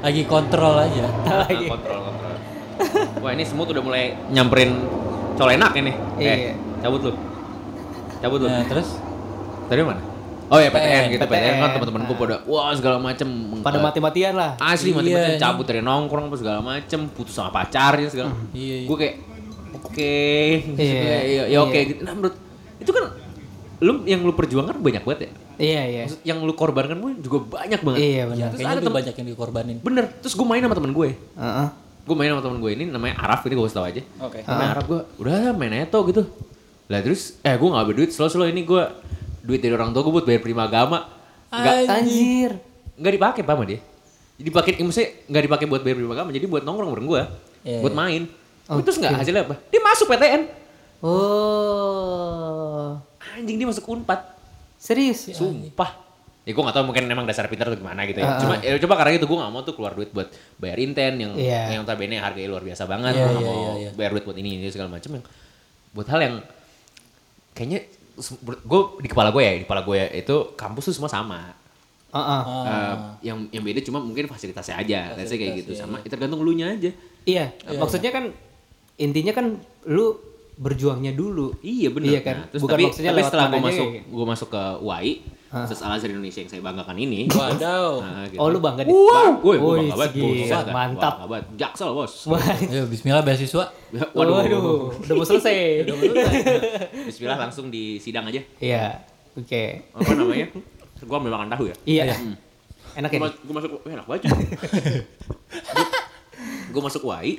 Speaker 3: lagi kontrol aja.
Speaker 1: Lagi.
Speaker 2: Ah, kontrol kontrol wah ini semut udah mulai nyamperin colenak ini
Speaker 1: Iya.
Speaker 2: eh cabut lu cabut lu
Speaker 3: Nah, terus
Speaker 2: tadi mana oh ya PTN
Speaker 3: PTN.
Speaker 2: gitu PTN kan teman-teman gue
Speaker 1: Ah.
Speaker 2: pada wah segala macem
Speaker 1: Pada
Speaker 2: Eh,
Speaker 1: mati-matian lah.
Speaker 2: asli
Speaker 3: Iya,
Speaker 2: mati-matian
Speaker 3: ini.
Speaker 2: cabut dari nongkrong apa segala macem putus sama pacarnya segala
Speaker 3: Iya, iya.
Speaker 2: gue kayak oke
Speaker 1: Iya,
Speaker 2: ya, ya, ya oke
Speaker 1: iya.
Speaker 2: gitu nah menurut itu kan lu yang lu perjuangkan banyak banget ya
Speaker 1: Iya, iya.
Speaker 2: Maksud, yang lu korbankan pun juga banyak banget
Speaker 1: Iya,
Speaker 3: ya,
Speaker 1: benar.
Speaker 2: Terus
Speaker 3: kayaknya
Speaker 2: ada
Speaker 3: lebih
Speaker 2: tem-
Speaker 3: banyak yang dikorbanin.
Speaker 2: bener terus gue main sama temen gue
Speaker 1: Heeh.
Speaker 2: gue main sama temen gue ini namanya Araf ini gue kasih tau aja
Speaker 3: Oke.
Speaker 2: Nah, Arab gue udah main aja tau gitu. Lah terus eh gue gak berduit slow slow ini gue duit dari orang tua gue buat bayar primagama nggak
Speaker 1: Anjir.
Speaker 2: nggak dipakai paham dia. Dipakai eh, maksudnya nggak dipakai buat bayar primagama jadi buat nongkrong bareng gue,
Speaker 3: Iya, Oh,
Speaker 2: buat main. Terus nggak hasilnya apa? Dia masuk PTN.
Speaker 1: Oh.
Speaker 2: Anjing dia masuk unpad.
Speaker 3: Iya,
Speaker 1: Serius?
Speaker 2: Iya. Sumpah. Ya gue gak tau mungkin emang dasar pintar atau gimana gitu ya. Cuma ya, coba karena itu gue gak mau tuh keluar duit buat bayar inten yang
Speaker 1: Iya.
Speaker 2: yang notabene harganya luar biasa banget.
Speaker 3: Iya,
Speaker 2: Gue gak
Speaker 3: iya,
Speaker 2: mau
Speaker 3: iya, iya.
Speaker 2: bayar duit buat ini, ini segala macam yang buat hal yang kayaknya gue di kepala gue ya di kepala gue ya, itu kampus tuh semua sama
Speaker 1: Heeh.
Speaker 3: Ah.
Speaker 2: Eh, yang yang beda cuma mungkin fasilitasnya aja Let's say kayak gitu sama ya tergantung lu nya aja
Speaker 1: Iya, maksudnya kan intinya kan lu berjuangnya dulu.
Speaker 2: Iya benar.
Speaker 1: Iya kan?
Speaker 2: Nah, terus
Speaker 1: Bukan
Speaker 2: tapi,
Speaker 1: maksudnya
Speaker 2: tapi
Speaker 1: lewat
Speaker 2: setelah gue
Speaker 1: mananya
Speaker 2: masuk
Speaker 1: kayak
Speaker 2: gue masuk ke UAI, Universitas Al Azhar Indonesia yang saya banggakan ini.
Speaker 3: Wadaw.
Speaker 2: Nah, gitu.
Speaker 1: Oh, lu bangga deh.
Speaker 2: Wow, gue gue
Speaker 1: Wih,
Speaker 2: bangga banget.
Speaker 1: gila,
Speaker 2: Gue bangga banget.
Speaker 1: mantap.
Speaker 2: Gua bangga banget. Jaksel bos.
Speaker 3: Ayo bismillah beasiswa.
Speaker 1: Waduh,
Speaker 2: Waduh.
Speaker 1: udah mau selesai.
Speaker 2: Bismillah langsung di sidang aja.
Speaker 1: Iya. Oke.
Speaker 2: Apa namanya? gue ambil makan tahu ya.
Speaker 1: Iya. Enak ya?
Speaker 2: Gue masuk, gua masuk wah, enak banget. gue masuk UAI,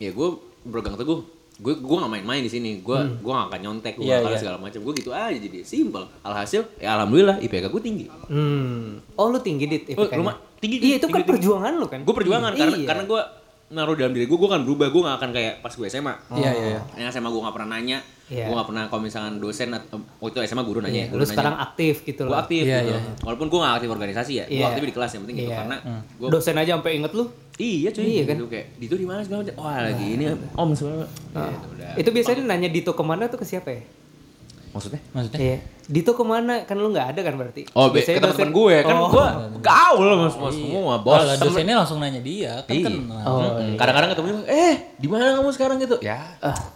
Speaker 2: ya gue berpegang teguh. Gue gue gak main-main di sini. Gue gue gak akan nyontek, gue
Speaker 3: Hmm. Iya,
Speaker 2: gak akan
Speaker 3: iya.
Speaker 2: segala macam. Gue gitu aja jadi simple. Alhasil, ya alhamdulillah IPK gue tinggi.
Speaker 1: Hmm. Oh, lu tinggi dit
Speaker 2: Oh,
Speaker 1: IPK-nya.
Speaker 2: luma- tinggi,
Speaker 1: Iya, itu kan
Speaker 2: tinggi, tinggi.
Speaker 1: perjuangan lu kan.
Speaker 2: gue perjuangan
Speaker 3: Hmm,
Speaker 2: karena
Speaker 1: Iya.
Speaker 2: karena gue naruh dalam diri gue gue kan berubah gue gak akan kayak pas gue SMA
Speaker 3: Iya, iya, iya.
Speaker 2: karena SMA gue gak pernah nanya
Speaker 1: Iya.
Speaker 2: gue gak pernah kalau misalkan dosen atau waktu itu SMA guru nanya
Speaker 1: Iya,
Speaker 2: ya, guru
Speaker 1: lu sekarang
Speaker 2: nanya
Speaker 1: aktif gitu
Speaker 2: gue
Speaker 1: loh.
Speaker 2: aktif
Speaker 3: Iya,
Speaker 2: gitu.
Speaker 3: iya. Hmm.
Speaker 2: walaupun gue gak aktif organisasi ya gue
Speaker 1: Iya.
Speaker 2: aktif di kelas yang penting gitu
Speaker 1: Iya.
Speaker 2: karena gue
Speaker 1: Dosen aja sampai inget lu.
Speaker 2: iya Nah. cuy
Speaker 1: Iya, kan?
Speaker 2: gitu kayak Dito di mana segala macam wah lagi ini om segala macam Gitu, udah.
Speaker 1: Ah. Itu biasanya nanya Dito kemana tuh ke siapa ya?
Speaker 2: maksudnya
Speaker 3: Maksudnya?
Speaker 1: Iya. Dito kemana? Kan lu nggak ada kan berarti?
Speaker 2: Eh. Oh, be,
Speaker 1: Biasanya
Speaker 2: ke teman
Speaker 1: dosen-
Speaker 2: gue kan
Speaker 1: Oh.
Speaker 2: gue gaul sama semua semua bos.
Speaker 3: Kalau
Speaker 2: Temen-
Speaker 3: dosennya langsung nanya dia, kan
Speaker 2: Iya.
Speaker 3: kenal.
Speaker 1: Oh,
Speaker 2: Mm, Kadang-kadang ketemu eh di mana kamu sekarang gitu? Ya,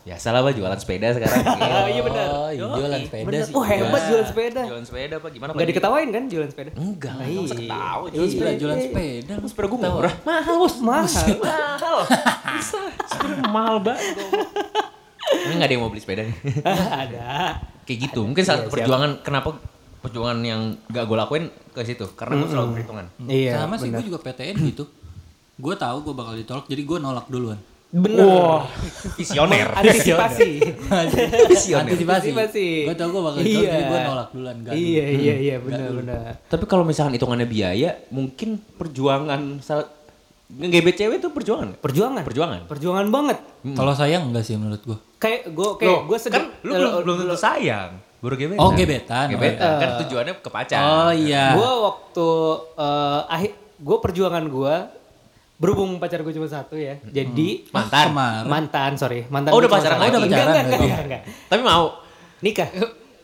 Speaker 2: biasalah pak jualan sepeda sekarang.
Speaker 1: Oh, iya benar.
Speaker 3: Oh, iya, jualan sepeda
Speaker 1: Bener.
Speaker 3: sih.
Speaker 1: Oh, hebat
Speaker 3: Jualan-
Speaker 1: jualan sepeda.
Speaker 2: Jualan sepeda apa gimana?
Speaker 1: Nggak diketawain kan jualan sepeda?
Speaker 2: Enggak, lah, masa ketawa
Speaker 3: Jualan
Speaker 2: sih.
Speaker 3: sepeda, jualan sepeda.
Speaker 2: Terus iya, Kan sepeda gue murah. Mahal, bos.
Speaker 1: Mahal.
Speaker 2: Mahal. Bisa. Sepeda mahal banget. Ini gak ada yang mau beli sepeda nih.
Speaker 1: ada.
Speaker 2: Kayak gitu. Mungkin saat perjuangan, kenapa perjuangan yang gak gue lakuin ke situ. Karena gue selalu perhitungan.
Speaker 1: Iya.
Speaker 3: Sama sih gue juga PTN gitu. Gue tahu gue bakal ditolak, jadi gue nolak duluan.
Speaker 1: Bener.
Speaker 2: Visioner.
Speaker 1: Antisipasi.
Speaker 3: Antisipasi.
Speaker 1: Antisipasi.
Speaker 3: Gue tahu gue bakal ditolak,
Speaker 1: Iya.
Speaker 3: jadi gue nolak duluan. Gak
Speaker 1: Iya, iya, iya, benar, benar.
Speaker 2: Tapi kalau misalkan hitungannya biaya, mungkin perjuangan saat ngegebet cewek itu perjuangan. nggak?
Speaker 1: Perjuangan.
Speaker 2: Perjuangan.
Speaker 1: Perjuangan banget.
Speaker 3: Kalau sayang enggak sih menurut gue.
Speaker 1: Kayak gue kayak gue sedih.
Speaker 2: kan lu belum belum tentu sayang. Baru gebetan.
Speaker 3: Oh, gebetan.
Speaker 2: Gebetan. Kan tujuannya ke pacar.
Speaker 3: Oh
Speaker 2: Nah.
Speaker 3: iya.
Speaker 1: Gue waktu eh akhir gue perjuangan gue berhubung pacar gue cuma satu ya. Jadi
Speaker 2: Mantan.
Speaker 3: Kemarin.
Speaker 1: mantan, sorry, mantan.
Speaker 2: Oh,
Speaker 1: gue
Speaker 2: udah
Speaker 1: cuma
Speaker 2: pacaran
Speaker 1: satu.
Speaker 2: lagi?
Speaker 1: Enggak,
Speaker 3: Udah
Speaker 1: enggak,
Speaker 3: pacaran
Speaker 1: enggak,
Speaker 3: lagi.
Speaker 1: enggak, enggak.
Speaker 2: Tapi mau.
Speaker 1: Nikah.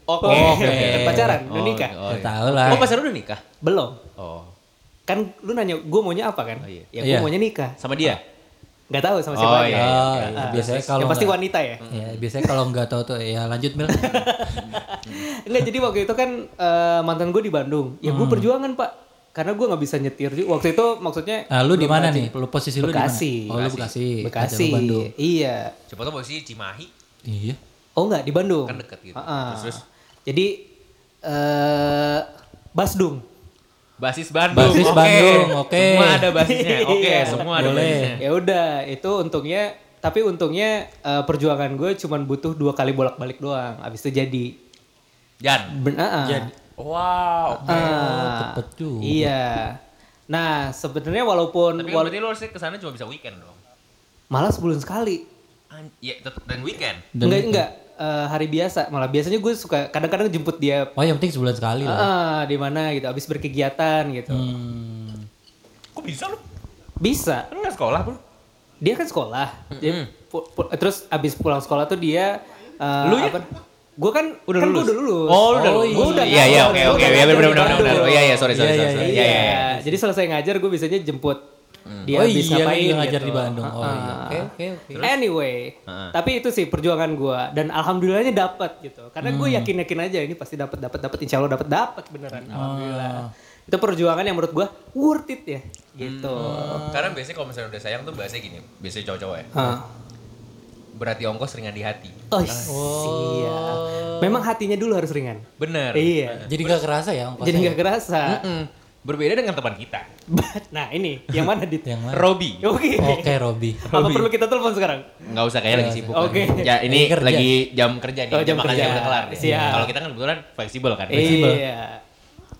Speaker 2: Oh, Oke.
Speaker 1: Oh, Oke. Pacaran, udah
Speaker 2: Oh,
Speaker 1: nikah.
Speaker 2: oh,
Speaker 3: Udah
Speaker 2: iya.
Speaker 3: tahu lah.
Speaker 2: Oh, pacaran udah nikah.
Speaker 1: Belum.
Speaker 2: Oh.
Speaker 1: Kan lu nanya gue maunya apa kan?
Speaker 2: iya.
Speaker 1: Ya gue
Speaker 3: Iya.
Speaker 1: maunya nikah.
Speaker 2: Sama dia?
Speaker 1: Nggak tahu sama
Speaker 2: Oh,
Speaker 1: siapa lagi.
Speaker 2: iya, iya.
Speaker 3: Ah,
Speaker 1: Ah,
Speaker 3: iya, biasanya
Speaker 1: yang
Speaker 3: kalau
Speaker 1: pasti
Speaker 3: nggak-
Speaker 1: wanita ya.
Speaker 3: Ya, biasanya kalau nggak tahu tuh ya lanjut Mil.
Speaker 1: Enggak, jadi waktu itu kan eh, mantan gue di Bandung. Ya
Speaker 3: Mm.
Speaker 1: gue perjuangan pak, karena gue nggak bisa nyetir juga. Waktu itu maksudnya
Speaker 3: Nah, lu di mana nih? Lu posisi lu di mana?
Speaker 1: Bekasi.
Speaker 3: Oh, lu Bekasi.
Speaker 1: Bekasi.
Speaker 3: Kerja lu Bandung.
Speaker 1: Iya.
Speaker 2: Coba tuh posisi Cimahi.
Speaker 3: Iya.
Speaker 1: Oh enggak di Bandung.
Speaker 2: Kan deket gitu.
Speaker 1: Ah, ah.
Speaker 2: Terus, terus?
Speaker 1: Jadi eh Basdung.
Speaker 2: Basis Bandung.
Speaker 3: Basis
Speaker 2: oke.
Speaker 3: Bandung, oke.
Speaker 2: Semua ada basisnya. Oke,
Speaker 1: Iya.
Speaker 2: semua ada
Speaker 3: Boleh.
Speaker 2: basisnya.
Speaker 1: Ya udah, itu untungnya tapi untungnya eh, perjuangan gue cuman butuh dua kali bolak-balik doang. Abis itu jadi.
Speaker 2: Jan.
Speaker 1: Ben, ah, ah.
Speaker 2: Wow.
Speaker 1: Ah,
Speaker 3: Oh, cepet juga.
Speaker 1: Iya. Nah, sebenarnya walaupun
Speaker 2: Tapi kan
Speaker 1: wala-
Speaker 2: berarti lu harusnya kesana cuma bisa weekend dong.
Speaker 1: malah sebulan sekali.
Speaker 2: An- Iya, tetep dan weekend.
Speaker 3: Dan-
Speaker 1: enggak, enggak. Eh, hari biasa malah biasanya gue suka kadang-kadang jemput dia
Speaker 3: Oh, yang penting sebulan sekali lah.
Speaker 1: ah, di mana gitu abis berkegiatan gitu
Speaker 3: Hmm.
Speaker 2: Kok bisa lu?
Speaker 1: bisa
Speaker 2: Lu nggak sekolah bro?
Speaker 1: dia kan sekolah Dia pu- pu- terus abis pulang sekolah tuh dia eh,
Speaker 2: Lu ya?
Speaker 1: apa- Gua kan udah kan lulus. udah lulus.
Speaker 2: Oh, lu udah
Speaker 1: Gua
Speaker 2: lulus.
Speaker 1: udah
Speaker 2: Iya, iya,
Speaker 1: gua
Speaker 2: oke, oke.
Speaker 1: udah
Speaker 2: Iya,
Speaker 1: ngajar
Speaker 2: bener,
Speaker 1: di
Speaker 2: bener, bener, bener.
Speaker 1: Bandung.
Speaker 2: Oh, iya, iya, sorry, sorry, sorry.
Speaker 3: Iya, iya,
Speaker 2: sorry.
Speaker 1: Iya,
Speaker 2: Iya, iya. Mm.
Speaker 1: Jadi selesai ngajar gue biasanya jemput dia
Speaker 3: oh
Speaker 1: abis
Speaker 3: iya,
Speaker 1: ngapain
Speaker 3: lu ngajar
Speaker 1: gitu.
Speaker 3: di Bandung. Oh iya.
Speaker 1: Ah.
Speaker 3: Oke, oke, oke.
Speaker 1: Anyway,
Speaker 2: Heeh.
Speaker 1: tapi itu sih perjuangan gua dan alhamdulillahnya dapat gitu. Karena gue
Speaker 2: Hmm.
Speaker 1: yakin-yakin aja ini pasti dapat dapat dapat insya Allah dapat dapat beneran
Speaker 2: Ah.
Speaker 1: alhamdulillah. Itu perjuangan yang menurut gua worth it ya gitu.
Speaker 2: Karena biasanya kalau misalnya udah sayang tuh bahasanya gini, biasanya cowok-cowok ya.
Speaker 1: Hah.
Speaker 2: Berarti ongkos ringan di hati.
Speaker 1: Oh, iya. Memang hatinya dulu harus ringan.
Speaker 2: Bener.
Speaker 1: Iya.
Speaker 3: Jadi gak kerasa ya ongkosnya?
Speaker 1: Jadi nggak kerasa.
Speaker 2: Mm. Berbeda dengan teman kita,
Speaker 1: nah ini yang mana dit?
Speaker 3: Yang mana?
Speaker 2: Robi.
Speaker 1: Oke.
Speaker 3: Oke, Robby.
Speaker 1: Apa perlu kita telepon sekarang?
Speaker 2: Nggak usah kayaknya lagi sibuk.
Speaker 1: Oke.
Speaker 2: kan. Ya ini
Speaker 3: Lagi kerja.
Speaker 2: lagi jam kerja nih.
Speaker 1: Oh, jam
Speaker 2: makan
Speaker 1: kerja.
Speaker 2: udah kelar. nih.
Speaker 1: Siap.
Speaker 2: Kalau kita kan kebetulan fleksibel kan.
Speaker 1: Iya.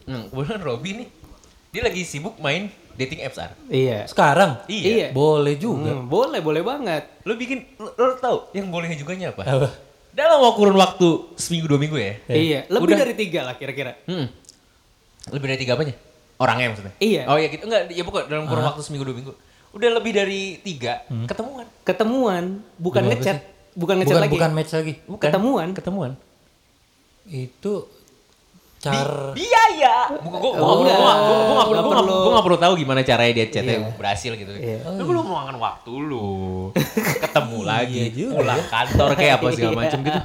Speaker 2: Hmm, kebetulan Robi nih, dia lagi sibuk main dating apps Ar.
Speaker 1: Iya.
Speaker 3: Sekarang?
Speaker 1: Iya.
Speaker 3: Boleh juga.
Speaker 1: Hmm, boleh, boleh banget.
Speaker 2: Lo bikin, lo, lo tau yang bolehnya juganya
Speaker 1: Hmm.
Speaker 2: apa? Dalam kurun waktu seminggu dua minggu ya.
Speaker 1: Iya. Lebih
Speaker 2: Udah.
Speaker 1: dari tiga lah kira-kira.
Speaker 2: Hmm. Lebih dari tiga apanya? Orangnya maksudnya?
Speaker 1: Iya. Ah.
Speaker 2: Oh iya gitu. Enggak, ya pokoknya dalam kurun waktu seminggu dua minggu. Udah lebih dari tiga
Speaker 1: Hmm.
Speaker 2: ketemuan.
Speaker 1: Ketemuan, bukan
Speaker 3: Gimana
Speaker 1: ngechat,
Speaker 3: sih?
Speaker 1: bukan ngechat
Speaker 3: Bukan,
Speaker 1: lagi.
Speaker 3: bukan match lagi.
Speaker 1: Bukan. Ketemuan.
Speaker 2: Ketemuan.
Speaker 3: Itu car...
Speaker 2: Biaya. Gua gua gua
Speaker 1: Oh,
Speaker 2: gua gua- gua gua
Speaker 1: nggak
Speaker 2: gua- gua-
Speaker 1: perlu.
Speaker 2: gua- gua nggak perlu tahu gimana caranya dia chatnya
Speaker 1: Iya.
Speaker 2: berhasil gitu.
Speaker 1: Iya.
Speaker 2: Lu belum meluangkan waktu lu. Ketemu lagi,
Speaker 3: juga
Speaker 2: pulang kantor kayak apa segala
Speaker 1: ya. Iya.
Speaker 2: macam gitu.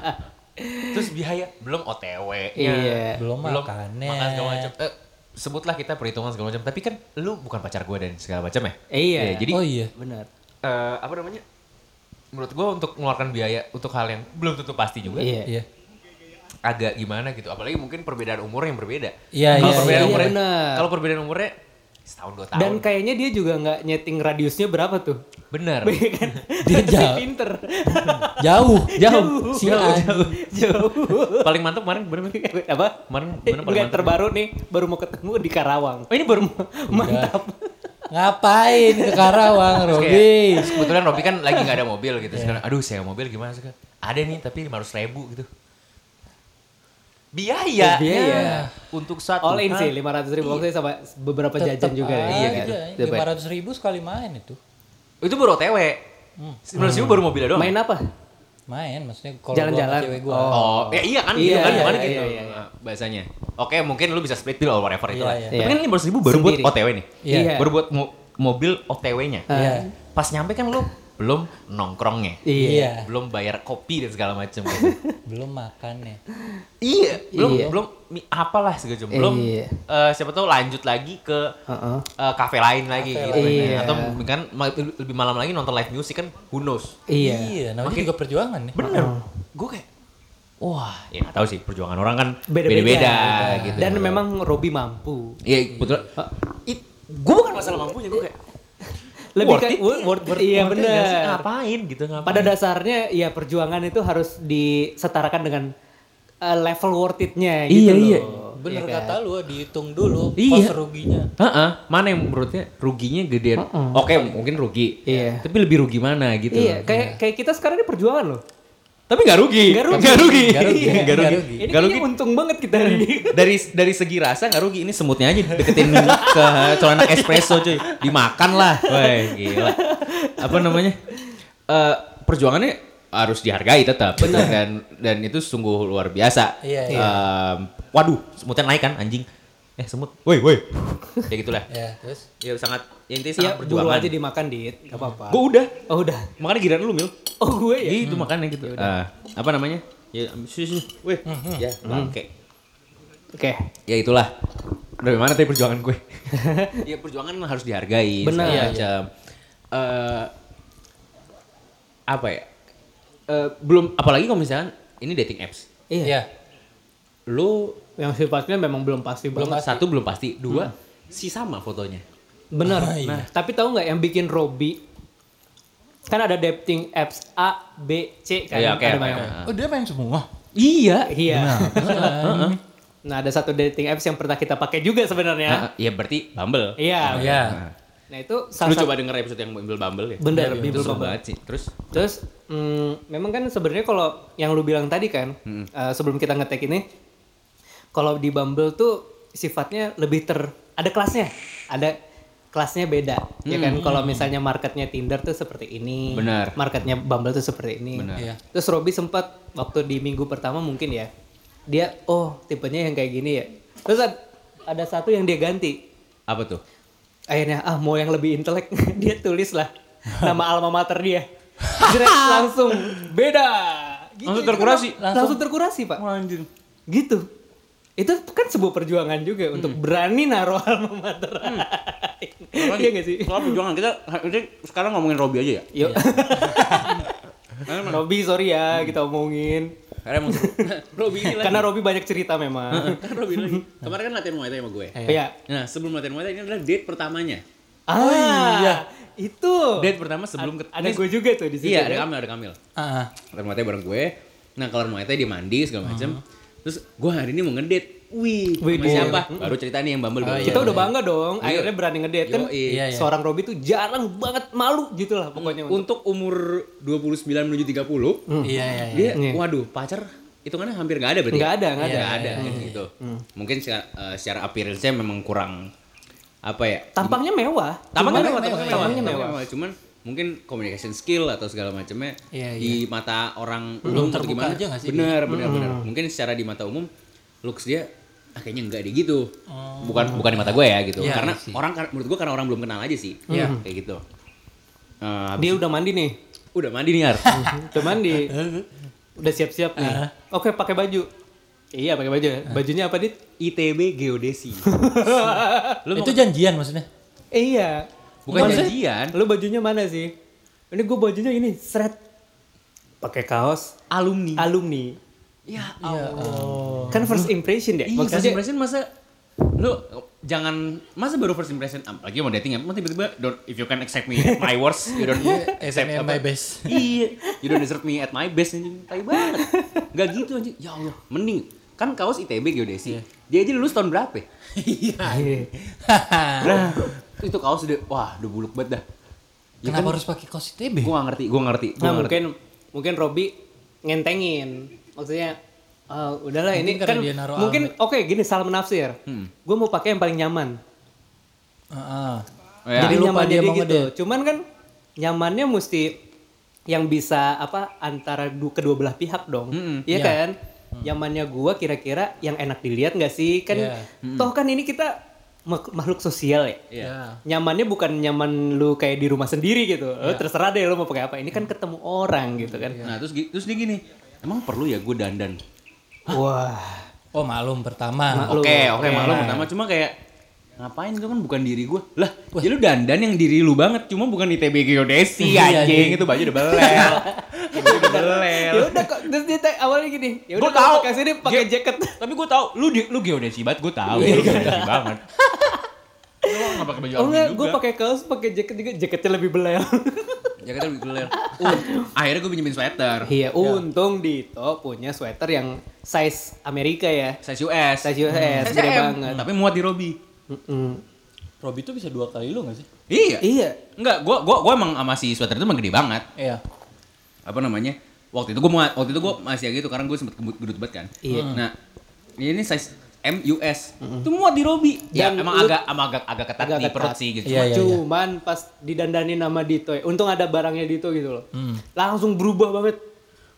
Speaker 2: Terus biaya belum OTW.
Speaker 1: Iya.
Speaker 3: Belum
Speaker 2: Belum
Speaker 3: makannya.
Speaker 2: makan segala macam. Eh, sebutlah kita perhitungan segala macam. Tapi kan lu bukan pacar gue dan segala macam ya.
Speaker 1: Iya.
Speaker 2: jadi
Speaker 3: Oh iya.
Speaker 1: Benar.
Speaker 2: eh, apa namanya? Menurut gue untuk mengeluarkan biaya untuk hal yang belum tentu pasti juga
Speaker 1: Iya.
Speaker 3: Iya.
Speaker 2: agak gimana gitu. Apalagi mungkin perbedaan umur yang berbeda.
Speaker 3: Iya,
Speaker 2: kalau
Speaker 3: iya,
Speaker 2: perbedaan
Speaker 1: iya,
Speaker 2: umurnya,
Speaker 1: benar.
Speaker 2: kalau perbedaan umurnya setahun dua tahun.
Speaker 1: Dan kayaknya dia juga nggak nyeting radiusnya berapa tuh.
Speaker 2: bener.
Speaker 1: Iya kan?
Speaker 3: Dia
Speaker 1: Si
Speaker 3: jauh.
Speaker 1: pinter.
Speaker 3: Jauh. Jauh.
Speaker 1: Jauh.
Speaker 3: Si anjing.
Speaker 1: Jauh.
Speaker 2: paling mantap kemarin bener bener.
Speaker 1: Apa?
Speaker 2: Kemarin bener paling
Speaker 1: Enggak
Speaker 2: mantap.
Speaker 1: terbaru nih, baru mau ketemu di Karawang. Oh, ini baru mau- mantap.
Speaker 3: Ngapain ke Karawang,
Speaker 2: Terus kayak,
Speaker 3: Robi?
Speaker 2: terus kebetulan Robi kan lagi nggak ada mobil gitu.
Speaker 1: Iya.
Speaker 2: Sekarang, aduh saya mobil gimana sih Kak? Ada nih tapi lima ratus ribu gitu. Biaya.
Speaker 1: Oh, biaya.
Speaker 2: Iya. Untuk satu. Iya.
Speaker 1: All in
Speaker 2: hal.
Speaker 1: sih 500 ribu maksudnya sama beberapa jajan juga ya.
Speaker 2: Iya,
Speaker 3: Iya
Speaker 2: gitu.
Speaker 3: gitu.
Speaker 2: Tetep aja.
Speaker 3: 500 ribu sekali main itu.
Speaker 2: Itu baru OTW.
Speaker 1: Hmm.
Speaker 2: Sembilan ribu baru mobilnya doang.
Speaker 1: Main apa?
Speaker 3: Main maksudnya kalau
Speaker 1: Jalan-jalan.
Speaker 3: gua sama cewek gua.
Speaker 2: Oh, ya iya kan gitu
Speaker 1: Iya,
Speaker 2: kan
Speaker 1: iya,
Speaker 2: kemarin
Speaker 1: iya,
Speaker 2: gitu
Speaker 1: iya, iya.
Speaker 2: bahasanya. Oke, mungkin lu bisa split bill or whatever itu lah.
Speaker 3: Iya,
Speaker 1: iya.
Speaker 2: Tapi kan lima ribu baru
Speaker 1: Sendiri.
Speaker 2: buat OTW nih.
Speaker 3: Iya.
Speaker 2: Baru buat mo- mobil OTW-nya.
Speaker 3: Iya.
Speaker 2: Pas nyampe kan lu belum nongkrongnya,
Speaker 1: Iya.
Speaker 3: Iya.
Speaker 2: belum bayar kopi dan segala macam. Gitu.
Speaker 3: Belum ya. makannya.
Speaker 2: iya, belum
Speaker 1: Iya.
Speaker 2: belum mi- apalah segala macam. Belum
Speaker 1: Iya.
Speaker 2: eh, siapa tahu lanjut lagi ke
Speaker 1: Heeh.
Speaker 2: eh, kafe lain lagi gitu. kan.
Speaker 1: lain. Iya.
Speaker 2: Atau mungkin kan ma- lebih malam lagi nonton live music kan who knows.
Speaker 1: Iya.
Speaker 3: namanya juga perjuangan ya. Iya nih.
Speaker 2: Bener. Gue kayak wah, ya gak tahu sih perjuangan orang kan
Speaker 1: Beda-beda. Iya.
Speaker 2: beda-beda gitu.
Speaker 1: Dan memang Robi mampu.
Speaker 2: Iya, betul. Gue bukan masalah mampunya, gue kayak
Speaker 1: Lebih
Speaker 2: Worth
Speaker 1: kayak
Speaker 2: it.
Speaker 1: worth, worth it. Iya
Speaker 2: worth it gak sih?
Speaker 1: benar.
Speaker 2: Ngapain gitu, ngapain.
Speaker 1: Pada dasarnya ya perjuangan itu harus disetarakan dengan eh, level worth it-nya gitu
Speaker 2: Iya,
Speaker 1: loh.
Speaker 2: iya.
Speaker 1: Iya
Speaker 3: Bener
Speaker 1: kan?
Speaker 3: kata lu, dihitung dulu
Speaker 2: Iya.
Speaker 3: cost ruginya.
Speaker 2: Heeh, mana yang menurutnya ruginya gedean? Oke, mungkin rugi.
Speaker 1: Iya.
Speaker 2: Tapi lebih rugi mana gitu.
Speaker 1: Iya,
Speaker 2: loh.
Speaker 1: kayak kayak kita sekarang ini perjuangan loh.
Speaker 2: Iya. Tapi nggak rugi.
Speaker 1: Nggak rugi.
Speaker 2: Nggak rugi.
Speaker 3: Nggak rugi.
Speaker 2: Nggak rugi.
Speaker 3: Nggak rugi.
Speaker 1: Ini
Speaker 2: Nggak
Speaker 1: kayaknya
Speaker 2: rugi. Iya.
Speaker 1: untung banget kita hari ini.
Speaker 2: Dari dari segi rasa nggak rugi. Ini semutnya aja deketin ke celana espresso cuy. Dimakan lah. Wah, gila. Apa namanya? Eh, perjuangannya harus dihargai tetap dan dan itu sungguh luar biasa.
Speaker 3: Iya,
Speaker 2: Em, waduh, semutnya naik kan anjing.
Speaker 6: eh semut woi woi ya gitulah
Speaker 3: Ya, terus
Speaker 6: ya sangat ya, intinya sangat
Speaker 1: Iya, buru
Speaker 6: perjuangan
Speaker 1: aja dimakan, Dit. Gak apa-apa.
Speaker 6: gue udah
Speaker 1: Oh, udah.
Speaker 6: makanya giliran lu mil
Speaker 1: Oh, gue ya? Hmm,
Speaker 6: gitu makanya gitu
Speaker 2: Eh,
Speaker 6: Ah, apa namanya ya ambil- sini sini woi ya bangke
Speaker 1: Oke.
Speaker 6: ya itulah dari mana tadi perjuangan gue ya perjuangan mah harus dihargai
Speaker 1: Benar.
Speaker 6: segala
Speaker 1: Iya,
Speaker 6: macam Eh, apa ya Eh, belum apalagi kalau misalkan ini dating apps
Speaker 1: Iya.
Speaker 3: Iya.
Speaker 6: lu
Speaker 1: Yang sifatnya memang belum pasti
Speaker 6: belum
Speaker 1: banget.
Speaker 6: satu belum pasti dua si sama fotonya
Speaker 1: Bener.
Speaker 6: Oh,
Speaker 3: Ah, iya.
Speaker 1: Nah, tapi tahu nggak yang bikin Robi? Kan ada dating apps A, B, C kan.
Speaker 6: Iya, oke,
Speaker 1: ada
Speaker 6: oke,
Speaker 1: banyak.
Speaker 6: oke.
Speaker 3: Oh, dia main semua.
Speaker 6: iya
Speaker 1: Iya.
Speaker 3: Beneran.
Speaker 1: Nah, ada satu dating apps yang pernah kita pakai juga sebenarnya.
Speaker 6: ya berarti Bumble
Speaker 1: Iya.
Speaker 3: Iya.
Speaker 1: Nah, itu
Speaker 6: lu
Speaker 1: salah satu
Speaker 6: coba denger episode yang Bumble Bumble ya Itu
Speaker 1: bener Bible
Speaker 6: seru
Speaker 1: Bubble.
Speaker 6: banget sih terus
Speaker 1: Terus mm, memang kan sebenarnya kalau yang lu bilang tadi kan eh, sebelum kita ngetek ini kalau di Bumble tuh sifatnya lebih ter ada kelasnya, ada kelasnya beda. Ya kan kalau misalnya marketnya Tinder tuh seperti ini,
Speaker 6: Benar.
Speaker 1: marketnya Bumble tuh seperti ini.
Speaker 6: Benar.
Speaker 3: Iya.
Speaker 1: Terus Robby sempat waktu di minggu pertama mungkin ya, dia oh tipenya yang kayak gini ya. Terus ad- ada satu yang dia ganti,
Speaker 6: apa tuh
Speaker 1: akhirnya ah mau yang lebih intelek dia tulis lah nama alma mater dia Jret, langsung beda Gitu,
Speaker 6: Langsung
Speaker 1: itu
Speaker 6: terkurasi.
Speaker 1: kenapa? langsung, terkurasi pak
Speaker 6: anjir
Speaker 1: gitu itu kan sebuah perjuangan juga untuk berani naruh alma mater iya gak sih
Speaker 2: Soal perjuangan kita ini sekarang ngomongin Robby aja ya.
Speaker 1: yuk Robi sorry ya kita omongin
Speaker 2: Karena emang seru. Robby ini lagi.
Speaker 1: karena Robi banyak cerita memang
Speaker 2: Karena Robby lagi. Kemarin kan latihan Muay Thai sama gue.
Speaker 1: ya
Speaker 2: Nah, sebelum latihan Muay Thai ini adalah date pertamanya.
Speaker 1: ah iya itu
Speaker 6: date pertama sebelum ket-
Speaker 1: Oh. ada
Speaker 6: ini-
Speaker 1: gue juga tuh di sini
Speaker 2: Eh, Iya, ada
Speaker 1: kan?
Speaker 2: Kamil, ada Kamil.
Speaker 3: Ah, ah.
Speaker 2: Latihan Muay Thai bareng gue. Nah, kelar Muay Thai dia mandi segala macem. Terus gue hari ini mau ngedate. Wih,
Speaker 1: Uh-huh. Wih,
Speaker 2: sama
Speaker 1: oh.
Speaker 2: siapa? Baru cerita nih yang Bumble. Bumble.
Speaker 1: iya. kita udah bangga dong akhirnya berani ngedate kan
Speaker 2: Yoi.
Speaker 3: Iya, iya.
Speaker 1: seorang Robi tuh jarang banget malu gitu lah pokoknya untuk
Speaker 2: Untuk umur 29 menuju 30,
Speaker 3: Iya, iya, iya.
Speaker 2: dia
Speaker 1: Hmm. Iya.
Speaker 2: waduh pacar hitungannya hampir nggak ada berarti ya?
Speaker 1: Nggak ada, Iya. Hmm. nggak
Speaker 2: nggak
Speaker 1: ada.
Speaker 2: ada ada kayak gitu mungkin secara, eh, secara appearance-nya memang kurang apa ya
Speaker 1: tampangnya mewah Cuman-
Speaker 2: tampangnya mewah tampangnya mewah
Speaker 1: tampangnya
Speaker 2: tampangnya
Speaker 1: mewah.
Speaker 2: mewah. cuman mungkin communication skill atau segala macamnya
Speaker 3: Iya,
Speaker 2: di mata orang
Speaker 3: Belum
Speaker 2: umum atau
Speaker 3: terbuka
Speaker 2: gimana
Speaker 3: aja nggak sih Hmm.
Speaker 2: benar benar benar mungkin secara di mata umum looks dia ah, kayaknya enggak deh gitu bukan bukan di mata gue ya gitu
Speaker 3: Oh. Iya, Hmm.
Speaker 2: karena
Speaker 3: I see.
Speaker 2: orang menurut gue karena orang belum kenal aja sih Iya, kayak gitu Eh, habis-
Speaker 1: dia udah mandi nih
Speaker 2: udah mandi nih Ar
Speaker 3: Hmm.
Speaker 1: udah mandi udah siap-siap nih oke pakai baju iya pakai baju bajunya apa dit
Speaker 2: ITB geodesi
Speaker 3: itu janjian maksudnya.
Speaker 1: eh, iya
Speaker 6: bukan
Speaker 1: Maksudnya,
Speaker 2: Kan?
Speaker 6: janjian
Speaker 1: lu bajunya mana sih ini gue bajunya ini seret pakai kaos
Speaker 2: alumni
Speaker 1: alumni
Speaker 3: Iya.
Speaker 2: Ya
Speaker 1: kan first impression deh
Speaker 2: Ih, Oh. Iya, first
Speaker 1: maksudnya
Speaker 2: impression masa lu jangan masa baru first impression apalagi mau dating ya emang tiba-tiba don't if you can accept me at my worst you don't
Speaker 3: SM
Speaker 2: accept
Speaker 3: my
Speaker 2: Eh, apa
Speaker 3: best.
Speaker 2: iya you don't deserve me at my best anjing tai banget nggak gitu anjing ya Allah mending kan kaos ITB geodesi dia aja lulus tahun berapa ya?
Speaker 3: Iya.
Speaker 1: Iya.
Speaker 2: nah itu kaos udah wah udah buluk banget dah ya
Speaker 3: Kenapa harus pakai kaos ITB?
Speaker 2: gua nggak ngerti gua nggak ngerti gua
Speaker 1: Nah
Speaker 2: nggak ngerti
Speaker 1: mungkin mungkin Robi ngentengin maksudnya "Ah, udahlah
Speaker 3: Mungkin
Speaker 1: ini
Speaker 3: karena
Speaker 1: kan
Speaker 3: dia naruh
Speaker 1: mungkin oke gini salah menafsir
Speaker 2: Hmm.
Speaker 1: gue mau pakai yang paling nyaman
Speaker 3: Ah, ah.
Speaker 2: Oh, ya.
Speaker 1: jadi
Speaker 3: Jadi lupa
Speaker 1: nyaman
Speaker 3: dia
Speaker 1: dia
Speaker 3: mau
Speaker 1: gitu cuman kan nyamannya mesti yang bisa apa antara du- kedua belah pihak dong
Speaker 2: Hmm,
Speaker 1: iya
Speaker 3: Iya.
Speaker 1: kan nyamannya gua kira-kira yang enak dilihat nggak sih kan
Speaker 3: Iya.
Speaker 2: Hmm.
Speaker 1: toh kan ini kita mak- makhluk sosial ya
Speaker 3: Iya.
Speaker 1: nyamannya bukan nyaman lu kayak di rumah sendiri gitu
Speaker 3: Ya.
Speaker 1: Lu terserah deh lu mau pakai apa ini kan ketemu orang gitu kan
Speaker 2: nah terus gi- terus dia gini emang perlu ya gua dandan
Speaker 1: wah
Speaker 3: Oh, malum pertama.
Speaker 1: Lu-
Speaker 2: Oke, oke, malu pertama cuma kayak ngapain itu kan bukan diri gue lah ya lu dandan yang diri lu banget cuma bukan ITB geodesi
Speaker 3: Iya,
Speaker 2: anjing
Speaker 3: iya.
Speaker 2: itu baju udah belel baju udah belel
Speaker 1: ya udah kok terus dia tag- awalnya gini ya udah
Speaker 2: Gua tahu.
Speaker 1: pakai sini pakai jaket Iya.
Speaker 2: tapi gue tau lu di- lu geodesi banget gue tau lu geodesi banget lu nggak pakai baju
Speaker 1: oh
Speaker 2: alumni
Speaker 1: enggak
Speaker 2: juga
Speaker 1: gue pakai kaos pakai jaket juga jaketnya lebih belel
Speaker 2: jaketnya lebih belel Uh, akhirnya gue pinjemin sweater
Speaker 1: iya untung Dito punya sweater yang size Amerika ya
Speaker 2: size US
Speaker 1: size US
Speaker 2: Size
Speaker 1: gede
Speaker 2: M.
Speaker 1: banget
Speaker 2: tapi muat di Robi
Speaker 1: Mm-mm.
Speaker 3: Robi tuh bisa dua kali lo gak sih?
Speaker 2: iya
Speaker 1: iya
Speaker 2: enggak gue gue gue emang sama si sweater itu emang gede banget
Speaker 3: Iya.
Speaker 2: apa namanya waktu itu gue mau waktu itu gue masih agak gitu karena gue sempet kebut gedut banget kan
Speaker 1: Iya.
Speaker 2: nah ini size M US itu muat di Robi ya
Speaker 1: Dan
Speaker 2: emang
Speaker 1: lu-
Speaker 2: agak emang agak agak ketat
Speaker 1: Agak
Speaker 2: di
Speaker 1: ketat.
Speaker 2: perut sih gitu
Speaker 3: Iya, iya, iya.
Speaker 1: cuman pas didandanin nama Dito ya, untung ada barangnya Dito gitu loh langsung berubah banget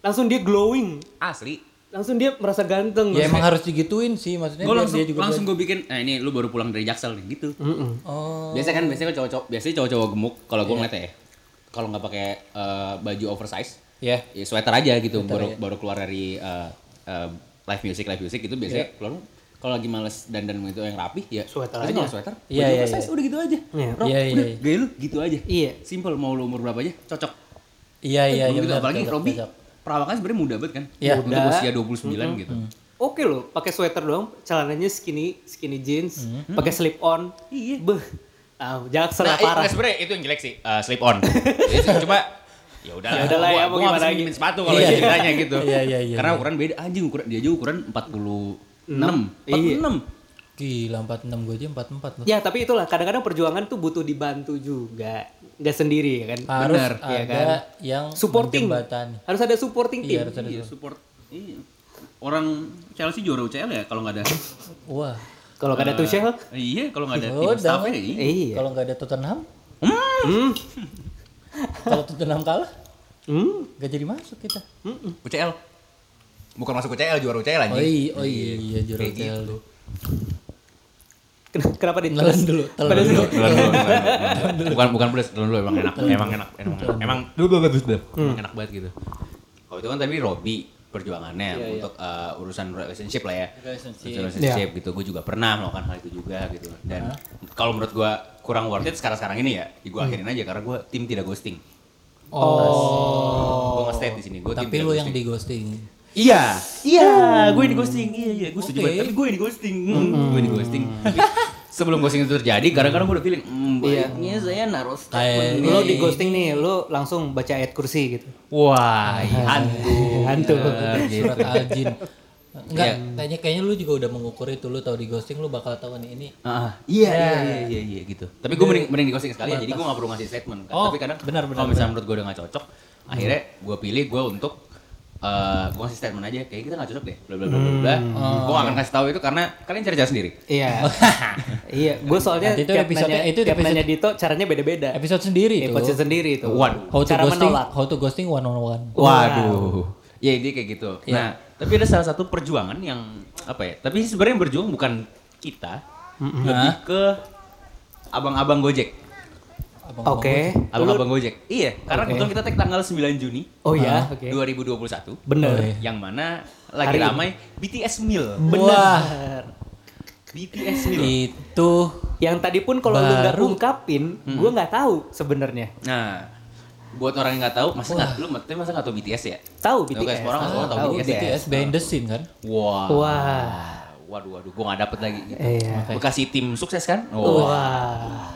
Speaker 1: langsung dia glowing
Speaker 2: asli
Speaker 1: langsung dia merasa ganteng.
Speaker 3: Ya emang harus digituin sih maksudnya
Speaker 2: Gue
Speaker 3: biar
Speaker 2: langsung
Speaker 3: dia juga
Speaker 2: langsung gue bikin, nah ini lu baru pulang dari Jaksel nih gitu.
Speaker 1: Mm-mm.
Speaker 3: Oh.
Speaker 2: Biasanya kan biasanya cowok-cowok biasanya cowok-cowok gemuk kalau
Speaker 3: Iya.
Speaker 2: gue ngeliatnya ya. Kalau nggak pakai eh, baju oversize,
Speaker 3: Ya.
Speaker 2: ya sweater aja gitu baru
Speaker 3: iya.
Speaker 2: baru keluar dari eh, eh, live music live music itu biasanya
Speaker 3: Iya.
Speaker 2: keluar kalau lagi males dandan gitu yang rapi ya
Speaker 1: Sweater
Speaker 2: pasti
Speaker 1: aja.
Speaker 2: kalau sweater baju
Speaker 3: Iya, iya,
Speaker 2: oversize udah gitu aja
Speaker 1: Iya.
Speaker 2: Rok,
Speaker 3: Iya, iya,
Speaker 2: udah
Speaker 3: iya.
Speaker 2: gaya lu gitu aja
Speaker 1: Iya.
Speaker 2: simple mau lu umur berapa aja cocok
Speaker 3: Iya iya
Speaker 2: Belum
Speaker 3: iya.
Speaker 2: gitu,
Speaker 3: benar,
Speaker 2: apalagi
Speaker 3: cocok,
Speaker 2: Robby
Speaker 3: cocok.
Speaker 2: perawakan sebenarnya muda banget kan
Speaker 3: Iya.
Speaker 2: untuk
Speaker 1: Muda.
Speaker 2: usia 29 gitu
Speaker 1: Oke loh, pakai sweater doang, celananya skinny skinny jeans,
Speaker 3: Hmm.
Speaker 1: pakai slip on. Iya. Beh. Ah, jaksel
Speaker 7: Nah,
Speaker 1: lah,
Speaker 2: iya,
Speaker 7: itu
Speaker 1: parah.
Speaker 7: sebenarnya itu yang jelek sih, eh, slip on. Jadi, Cuma ya udahlah.
Speaker 1: Ya udahlah ya,
Speaker 7: gua nggak
Speaker 1: mau gimana
Speaker 7: bisa
Speaker 1: lagi.
Speaker 7: minjemin sepatu kalau
Speaker 3: Iya.
Speaker 7: ceritanya gitu.
Speaker 3: Iya iya iya.
Speaker 2: karena ukuran beda aja ukuran dia aja ukuran 46
Speaker 1: Iya.
Speaker 2: 46
Speaker 3: Gila 46 gue aja 44 loh.
Speaker 1: Ya, tapi itulah kadang-kadang perjuangan tuh butuh dibantu juga, nggak sendiri ya kan.
Speaker 3: Harus
Speaker 2: benar,
Speaker 3: ada
Speaker 1: iya kan?
Speaker 3: yang
Speaker 1: Supporting.
Speaker 3: menjembatani.
Speaker 1: Harus ada supporting
Speaker 3: Iya
Speaker 1: team.
Speaker 3: harus ada.
Speaker 2: iya support iya. orang Chelsea juara UCL ya kalau nggak ada
Speaker 3: Wah.
Speaker 1: Kalau nggak ada
Speaker 3: Nah.
Speaker 1: Tuchel,
Speaker 2: iya kalau nggak ada
Speaker 3: Ya
Speaker 2: tim
Speaker 3: udah,
Speaker 2: staffnya
Speaker 3: kan.
Speaker 2: iya.
Speaker 1: iya.
Speaker 3: Kalau nggak ada Tottenham,
Speaker 1: Hmm.
Speaker 3: kalau Tottenham kalah
Speaker 1: Hmm.
Speaker 3: nggak jadi masuk kita.
Speaker 7: UCL. Bukan masuk UCL, juara UCL
Speaker 3: Oh
Speaker 7: anjing.
Speaker 3: iya, oh iya, iya juru hotel.
Speaker 1: Ken- Kenapa di
Speaker 3: Telan dulu, telan
Speaker 1: Pada
Speaker 3: dulu.
Speaker 1: sih.
Speaker 7: Telan dulu, telan dulu, telan dulu. Bukan bukan pedes, telan dulu emang enak, emang enak, emang enak. Emang dulu bagus deh.
Speaker 2: enak banget gitu. Kalau itu kan tadi Robi perjuangannya untuk uh, urusan relationship lah ya. Relationship, relationship gitu. Gue juga pernah melakukan hal itu juga gitu. Dan kalau menurut gue kurang worth it sekarang-sekarang ini ya, gue akhirin aja karena gue tim tidak ghosting.
Speaker 3: Oh.
Speaker 2: Gue nge-state di sini, gue tim
Speaker 3: Tapi
Speaker 2: tidak
Speaker 3: lu yang
Speaker 2: ghosting.
Speaker 3: di ghosting.
Speaker 2: Iya, iya, gue di ghosting. Iya, iya, gue setuju
Speaker 3: Oke.
Speaker 2: banget. Tapi gue di ghosting. Hmm, Gue di ghosting. Tapi Sebelum ghosting itu terjadi, kadang-kadang gue udah feeling, hmm, baiknya saya naruh statement.
Speaker 3: Kayak
Speaker 1: Lu di ghosting nih, lu langsung baca ayat kursi gitu.
Speaker 7: Wah,
Speaker 2: iya. Hantu.
Speaker 1: Hantu.
Speaker 2: Gitu.
Speaker 3: surat aljin. Enggak, kayaknya kayaknya lu juga udah mengukur itu lu tahu di ghosting lu bakal tahu nih ini.
Speaker 2: Ah, iya, iya, iya, iya, iya, gitu. Tapi gue mending, mending di ghosting sekalian, jadi gue gak perlu ngasih statement. Kan.
Speaker 3: Oh,
Speaker 2: Tapi kadang
Speaker 3: benar, benar,
Speaker 2: kalau misalnya menurut gue udah gak cocok, akhirnya gue pilih gue untuk eh gue ngasih statement aja, kayak kita gak cocok deh, bla bla bla bla. bla. Gue gak akan kasih tahu itu karena kalian cari cara sendiri.
Speaker 1: Iya. iya, gue soalnya
Speaker 3: Nanti itu
Speaker 1: tiap
Speaker 3: episode-
Speaker 1: nanya,
Speaker 3: itu
Speaker 1: tiap
Speaker 3: episode-
Speaker 1: nanya Dito caranya beda-beda.
Speaker 3: Episode sendiri itu.
Speaker 1: Iya. Episode sendiri itu.
Speaker 2: Waduh.
Speaker 3: How to
Speaker 1: Cara
Speaker 3: ghosting,
Speaker 1: menolak.
Speaker 3: how to ghosting one on one.
Speaker 2: Waduh. Ya ini kayak gitu.
Speaker 1: Iya.
Speaker 2: Nah, tapi ada salah satu perjuangan yang apa ya? Tapi sebenarnya yang berjuang bukan kita, lebih ke abang-abang Gojek.
Speaker 3: Abang-abang
Speaker 1: Oke.
Speaker 2: Abang-abang Gojek. Iya, karena
Speaker 1: Oke.
Speaker 2: kebetulan kita tag tanggal 9 Juni
Speaker 1: Oh iya, oke.
Speaker 2: 2021.
Speaker 1: Bener.
Speaker 3: Oh, iya.
Speaker 2: yang mana lagi
Speaker 1: Hari ini.
Speaker 2: ramai BTS meal.
Speaker 3: gua. Wah,
Speaker 2: BTS meal.
Speaker 1: Iya.
Speaker 3: itu
Speaker 1: Yang tadi pun kalau lu nggak
Speaker 3: Baru.
Speaker 1: ungkapin, gue nggak tahu sebenarnya.
Speaker 2: Nah, buat orang yang nggak tahu, masa nggak lu mati masa nggak tahu BTS ya?
Speaker 1: Tahu
Speaker 2: Oke,
Speaker 1: BTS.
Speaker 2: semua orang- semua orang tahu gitu ya.
Speaker 1: Tahu.
Speaker 2: BTS.
Speaker 3: BTS behind the scene kan?
Speaker 2: Wah.
Speaker 1: Wah.
Speaker 2: Waduh, waduh, gua nggak dapet lagi.
Speaker 1: Iya.
Speaker 2: Bekasi tim sukses kan?
Speaker 1: Wah.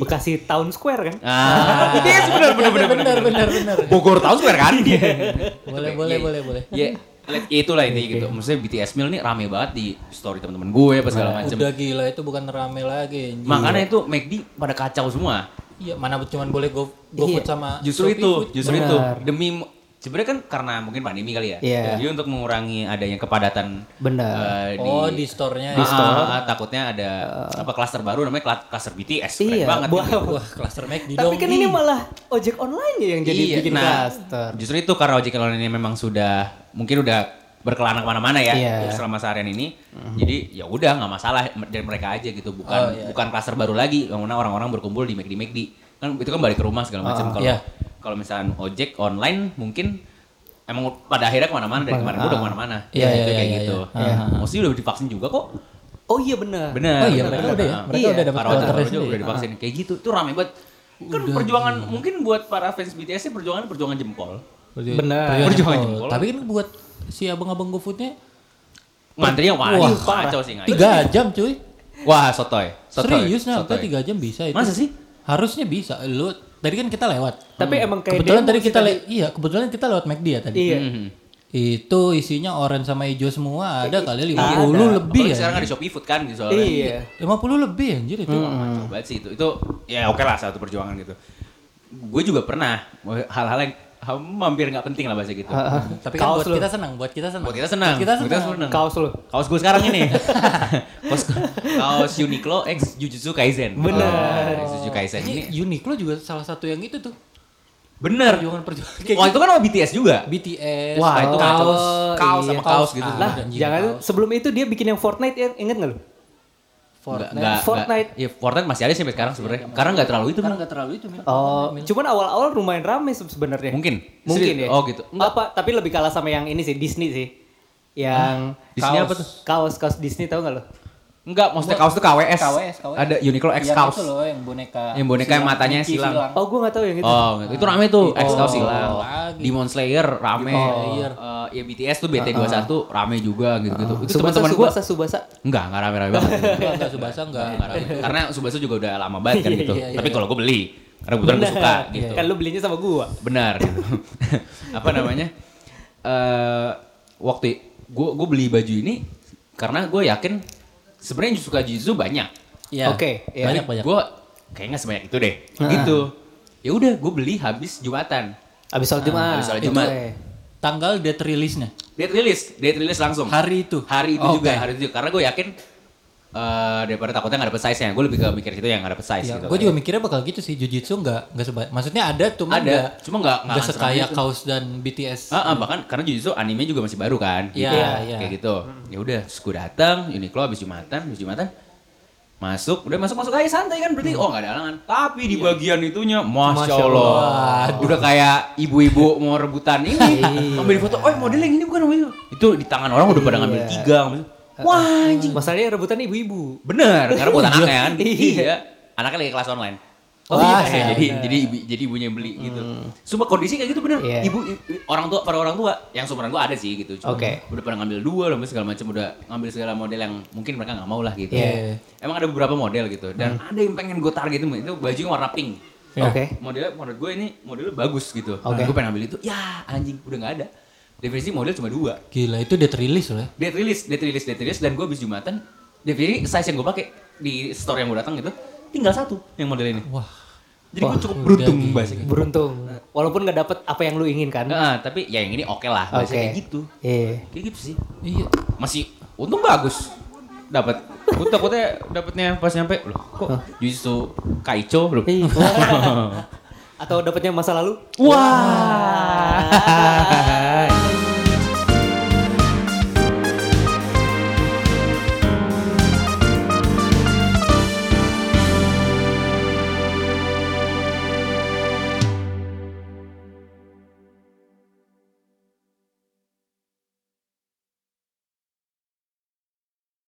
Speaker 1: Bekasi Town Square kan?
Speaker 2: Ah, BTS bener bener bener bener.
Speaker 3: benar benar.
Speaker 7: Bogor tahun square kan?
Speaker 2: Iya.
Speaker 3: Boleh boleh boleh boleh.
Speaker 2: Ya, let- itulah intinya gitu. Maksudnya BTS meal nih rame banget di story teman-teman gue apa segala macam.
Speaker 3: Nah, Udah gila itu bukan rame lagi. anjing.
Speaker 2: Makanya itu McD pada kacau semua.
Speaker 3: Iya, mana cuman boleh go go
Speaker 1: Iya.
Speaker 3: food sama
Speaker 2: Justru
Speaker 3: Shopee
Speaker 2: itu,
Speaker 3: Food.
Speaker 2: justru
Speaker 1: Benar.
Speaker 2: itu demi sebenarnya kan karena mungkin pandemi kali ya.
Speaker 1: Iya.
Speaker 2: Jadi untuk mengurangi adanya kepadatan
Speaker 1: Benar.
Speaker 2: eh,
Speaker 3: Oh, di store-nya.
Speaker 2: di
Speaker 3: ya.
Speaker 2: store ah, takutnya ada apa klaster baru namanya kla- klaster BTS keren
Speaker 1: Eh. Iya,
Speaker 2: banget.
Speaker 1: wah.
Speaker 2: gitu.
Speaker 3: Ah, Wah, klaster McD dong.
Speaker 1: Tapi kan ini malah ojek online ya yang jadi
Speaker 2: Iya,
Speaker 1: bikin
Speaker 2: nah,
Speaker 1: cluster.
Speaker 2: Justru itu karena ojek online ini memang sudah mungkin udah berkelana kemana-mana ya
Speaker 1: Iya.
Speaker 2: selama seharian ini.
Speaker 3: Mhm.
Speaker 2: Jadi ya udah nggak masalah dari mereka aja gitu, bukan
Speaker 3: Oh, iya.
Speaker 2: bukan klaster baru lagi yang mana orang-orang berkumpul di McD McD. Kan itu kan balik ke rumah segala macam. Kalau
Speaker 3: Iya.
Speaker 2: kalau misalnya ojek online mungkin emang pada akhirnya kemana-mana dari kemarin udah kemana-mana.
Speaker 3: Iya,
Speaker 2: Itu
Speaker 3: iya,
Speaker 2: kayak
Speaker 3: iya,
Speaker 2: gitu.
Speaker 3: iya.
Speaker 2: Mesti udah divaksin juga kok.
Speaker 1: Oh iya benar.
Speaker 2: Benar.
Speaker 3: Oh iya,
Speaker 2: benar,
Speaker 3: mereka
Speaker 2: benar.
Speaker 3: udah ya? Mereka
Speaker 1: Iya.
Speaker 3: udah dapat
Speaker 2: Para
Speaker 3: klasternya
Speaker 2: orang juga
Speaker 3: sendiri. Ah.
Speaker 2: udah divaksin kayak gitu. Itu rame banget. Kan perjuangan mungkin buat para fans BTS nya perjuangan perjuangan jempol.
Speaker 3: Perjuangan-
Speaker 1: Benar.
Speaker 2: Perjuangan
Speaker 3: jempol.
Speaker 2: jempol.
Speaker 3: Tapi kan buat si abang-abang GoFood-nya
Speaker 2: Ngantrinya wah,
Speaker 3: Wah,
Speaker 2: wah kacau sih nggak.
Speaker 3: 3 jam cuy.
Speaker 2: Wah, sotoy. sotoy.
Speaker 3: Serius nah,
Speaker 2: sotoy.
Speaker 3: 3 jam bisa itu.
Speaker 2: Masa sih?
Speaker 3: Harusnya bisa. Lu tadi kan kita lewat.
Speaker 1: Tapi emang kayak
Speaker 3: kebetulan
Speaker 1: demo
Speaker 3: tadi
Speaker 1: sih
Speaker 3: kita le- iya, kebetulan kita lewat McD ya tadi.
Speaker 1: Iya.
Speaker 2: Mhm.
Speaker 3: Itu isinya orange sama hijau semua, ada kali 50
Speaker 2: Apalagi
Speaker 3: lebih ya.
Speaker 2: sekarang ada Shopee Food kan gitu soalnya.
Speaker 1: Iya.
Speaker 3: 50 lebih anjir itu.
Speaker 2: Kacau banget sih itu. Itu ya oke lah satu perjuangan gitu. Gue juga pernah hal-hal yang ham- hampir nggak penting lah bahasa gitu.
Speaker 3: Tapi kan
Speaker 1: Kaos lu.
Speaker 3: buat kita senang, buat kita senang.
Speaker 2: Buat kita senang.
Speaker 3: Buat kita
Speaker 2: Buat
Speaker 3: senang.
Speaker 2: kita senang.
Speaker 1: Kaos lu.
Speaker 2: Kaos gue sekarang ini. kaos, kaos Uniqlo X Jujutsu Kaisen.
Speaker 1: Benar.
Speaker 2: Oh, X Jujutsu Kaisen ini.
Speaker 3: Ini Uniqlo juga salah satu yang itu tuh.
Speaker 2: Bener.
Speaker 3: perjuangan-perjuangan kayak gitu.
Speaker 2: Wah itu kan sama BTS juga.
Speaker 3: BTS
Speaker 2: Wah, itu
Speaker 3: kaos.
Speaker 2: kacau. Kaos sama kaos gitu.
Speaker 3: Ah,
Speaker 1: Lah,
Speaker 3: anjing,
Speaker 1: jangan
Speaker 3: kaos.
Speaker 1: sebelum itu dia bikin yang Fortnite ya, inget nggak lu?
Speaker 2: Fortnite.
Speaker 1: Fortnite.
Speaker 2: Iya, Fortnite masih ada sih sampai sekarang sebenarnya. Karena nggak terlalu itu
Speaker 3: Iya, Karena
Speaker 2: Mil.
Speaker 3: Kan nggak terlalu itu Mil.
Speaker 1: Oh, cuman awal-awal lumayan rame se- sebenarnya.
Speaker 2: Mungkin.
Speaker 1: Mungkin
Speaker 2: Serius?
Speaker 1: ya.
Speaker 2: Oh, gitu.
Speaker 1: Apa? Tapi lebih kalah sama yang ini sih Disney sih. Yang
Speaker 2: Di sini
Speaker 1: kaos.
Speaker 2: apa tuh?
Speaker 1: Kaos kaos Disney tau nggak lo?
Speaker 2: Enggak, maksudnya kaos itu KWS.
Speaker 8: KWS, KWS.
Speaker 2: Ada Uniqlo X
Speaker 3: Iya, gitu
Speaker 8: yang
Speaker 2: kaos.
Speaker 8: itu loh yang boneka
Speaker 2: Yang boneka yang matanya
Speaker 8: Mickey
Speaker 2: silang.
Speaker 1: Oh, gue nggak tahu yang itu.
Speaker 2: Oh, gitu. itu rame tuh. X kaos
Speaker 3: Oh,
Speaker 2: hilang.
Speaker 3: lagi.
Speaker 2: Demon Slayer rame.
Speaker 3: Demon Slayer.
Speaker 2: Eh, ya BTS tuh BT21 rame juga gitu-gitu.
Speaker 1: Subasa,
Speaker 2: Itu teman-teman gua
Speaker 1: Subasa, Subasa.
Speaker 2: enggak, enggak rame-rame banget.
Speaker 3: Enggak, enggak Subasa enggak.
Speaker 2: Enggak rame. Karena Subasa juga udah lama banget kan gitu.
Speaker 3: Iya, iya,
Speaker 2: Tapi kalau gua beli karena kebetulan gua suka gitu.
Speaker 1: Kan lu belinya sama gua.
Speaker 2: benar gitu. apa namanya eh waktu gue gue beli baju ini karena gue yakin sebenarnya yang suka Jisoo banyak
Speaker 3: Iya.
Speaker 1: Oke, iya.
Speaker 3: Banyak banyak. Ah.
Speaker 2: gue kayaknya nggak sebanyak itu deh gitu ya udah gue beli habis jumatan
Speaker 1: Abis sholat Jumat.
Speaker 2: Ah, abis sholat
Speaker 1: Itu,
Speaker 2: Jumat.
Speaker 1: eh.
Speaker 3: Tanggal date rilisnya.
Speaker 2: date rilis date rilis langsung
Speaker 3: Hari itu.
Speaker 2: hari itu
Speaker 3: Oke.
Speaker 2: juga hari itu juga. karena gue yakin eh daripada takutnya nggak dapet size nya gue lebih ke mikir situ yang nggak dapet size
Speaker 3: Ya,
Speaker 2: gitu
Speaker 3: gue juga mikirnya bakal gitu sih Jujitsu nggak nggak sebanyak. Maksudnya ada cuma
Speaker 2: Ada,
Speaker 3: nggak-
Speaker 2: cuma nggak- nggak
Speaker 3: nggak
Speaker 2: seramai
Speaker 3: sekaya
Speaker 2: itu.
Speaker 3: kaos dan BTS.
Speaker 2: Ah, ah, bahkan karena Jujutsu anime juga masih baru kan.
Speaker 3: Iya,
Speaker 2: gitu.
Speaker 3: iya.
Speaker 2: Kayak gitu. Ya udah, terus gue datang, Uniqlo habis Jumatan, habis Jumatan masuk, udah masuk masuk aja santai kan berarti oh nggak ada halangan. Tapi di bagian itunya, masya,
Speaker 1: Masya
Speaker 2: Allah,
Speaker 3: Iya. Allah. Iya.
Speaker 2: udah kayak ibu-ibu mau rebutan ini, ambil foto, oh model yang ini bukan model itu di tangan orang udah pada ngambil
Speaker 1: Iya.
Speaker 2: tiga, ngambil- wah anjing,
Speaker 1: Masalahnya rebutan ibu-ibu.
Speaker 2: bener karena buat anaknya kan,
Speaker 1: Iya.
Speaker 2: iya, anaknya lagi kelas online.
Speaker 3: Oh,
Speaker 2: Wah,
Speaker 3: iya,
Speaker 2: jadi jadi ibu- jadi ibunya yang beli gitu. Sumpah kondisi kayak gitu bener.
Speaker 1: Hmm. Iya.
Speaker 2: Ibu, ibu- orang tua para orang tua yang sumberan gua ada sih gitu. Cuma
Speaker 1: Oke.
Speaker 2: Udah pernah ngambil dua lah segala macam udah ngambil segala model yang mungkin mereka nggak mau lah gitu.
Speaker 1: Iya. Hmm.
Speaker 2: Emang ada beberapa model gitu dan ada yang pengen gue targetin itu bajunya warna pink.
Speaker 3: Ya.
Speaker 1: Oke.
Speaker 2: Modelnya menurut gue ini modelnya bagus gitu.
Speaker 1: Oke.
Speaker 2: Gue pengen ambil itu. Ya anjing udah nggak ada. Definisi model cuma dua.
Speaker 3: Gila itu date rilis loh. ya.
Speaker 2: Date rilis, date rilis, date rilis dan gue habis jumatan. Definisi size yang gue pakai di store yang gue datang gitu tinggal satu yang model ini.
Speaker 3: Wah.
Speaker 2: Jadi gue cukup
Speaker 3: udah
Speaker 2: beruntung
Speaker 3: gila.
Speaker 2: bahasanya.
Speaker 1: Beruntung. Walaupun nggak dapet apa yang lu inginkan.
Speaker 2: Nah, tapi ya yang ini oke lah,
Speaker 1: Oke.
Speaker 2: bahasanya kayak gitu.
Speaker 1: Iya.
Speaker 2: Kayak gitu sih.
Speaker 3: Iya.
Speaker 2: Masih untung bagus. Dapat. Gue takutnya dapatnya pas nyampe loh kok justru kaico belum.
Speaker 1: Iya. Atau dapatnya masa lalu?
Speaker 2: Wah.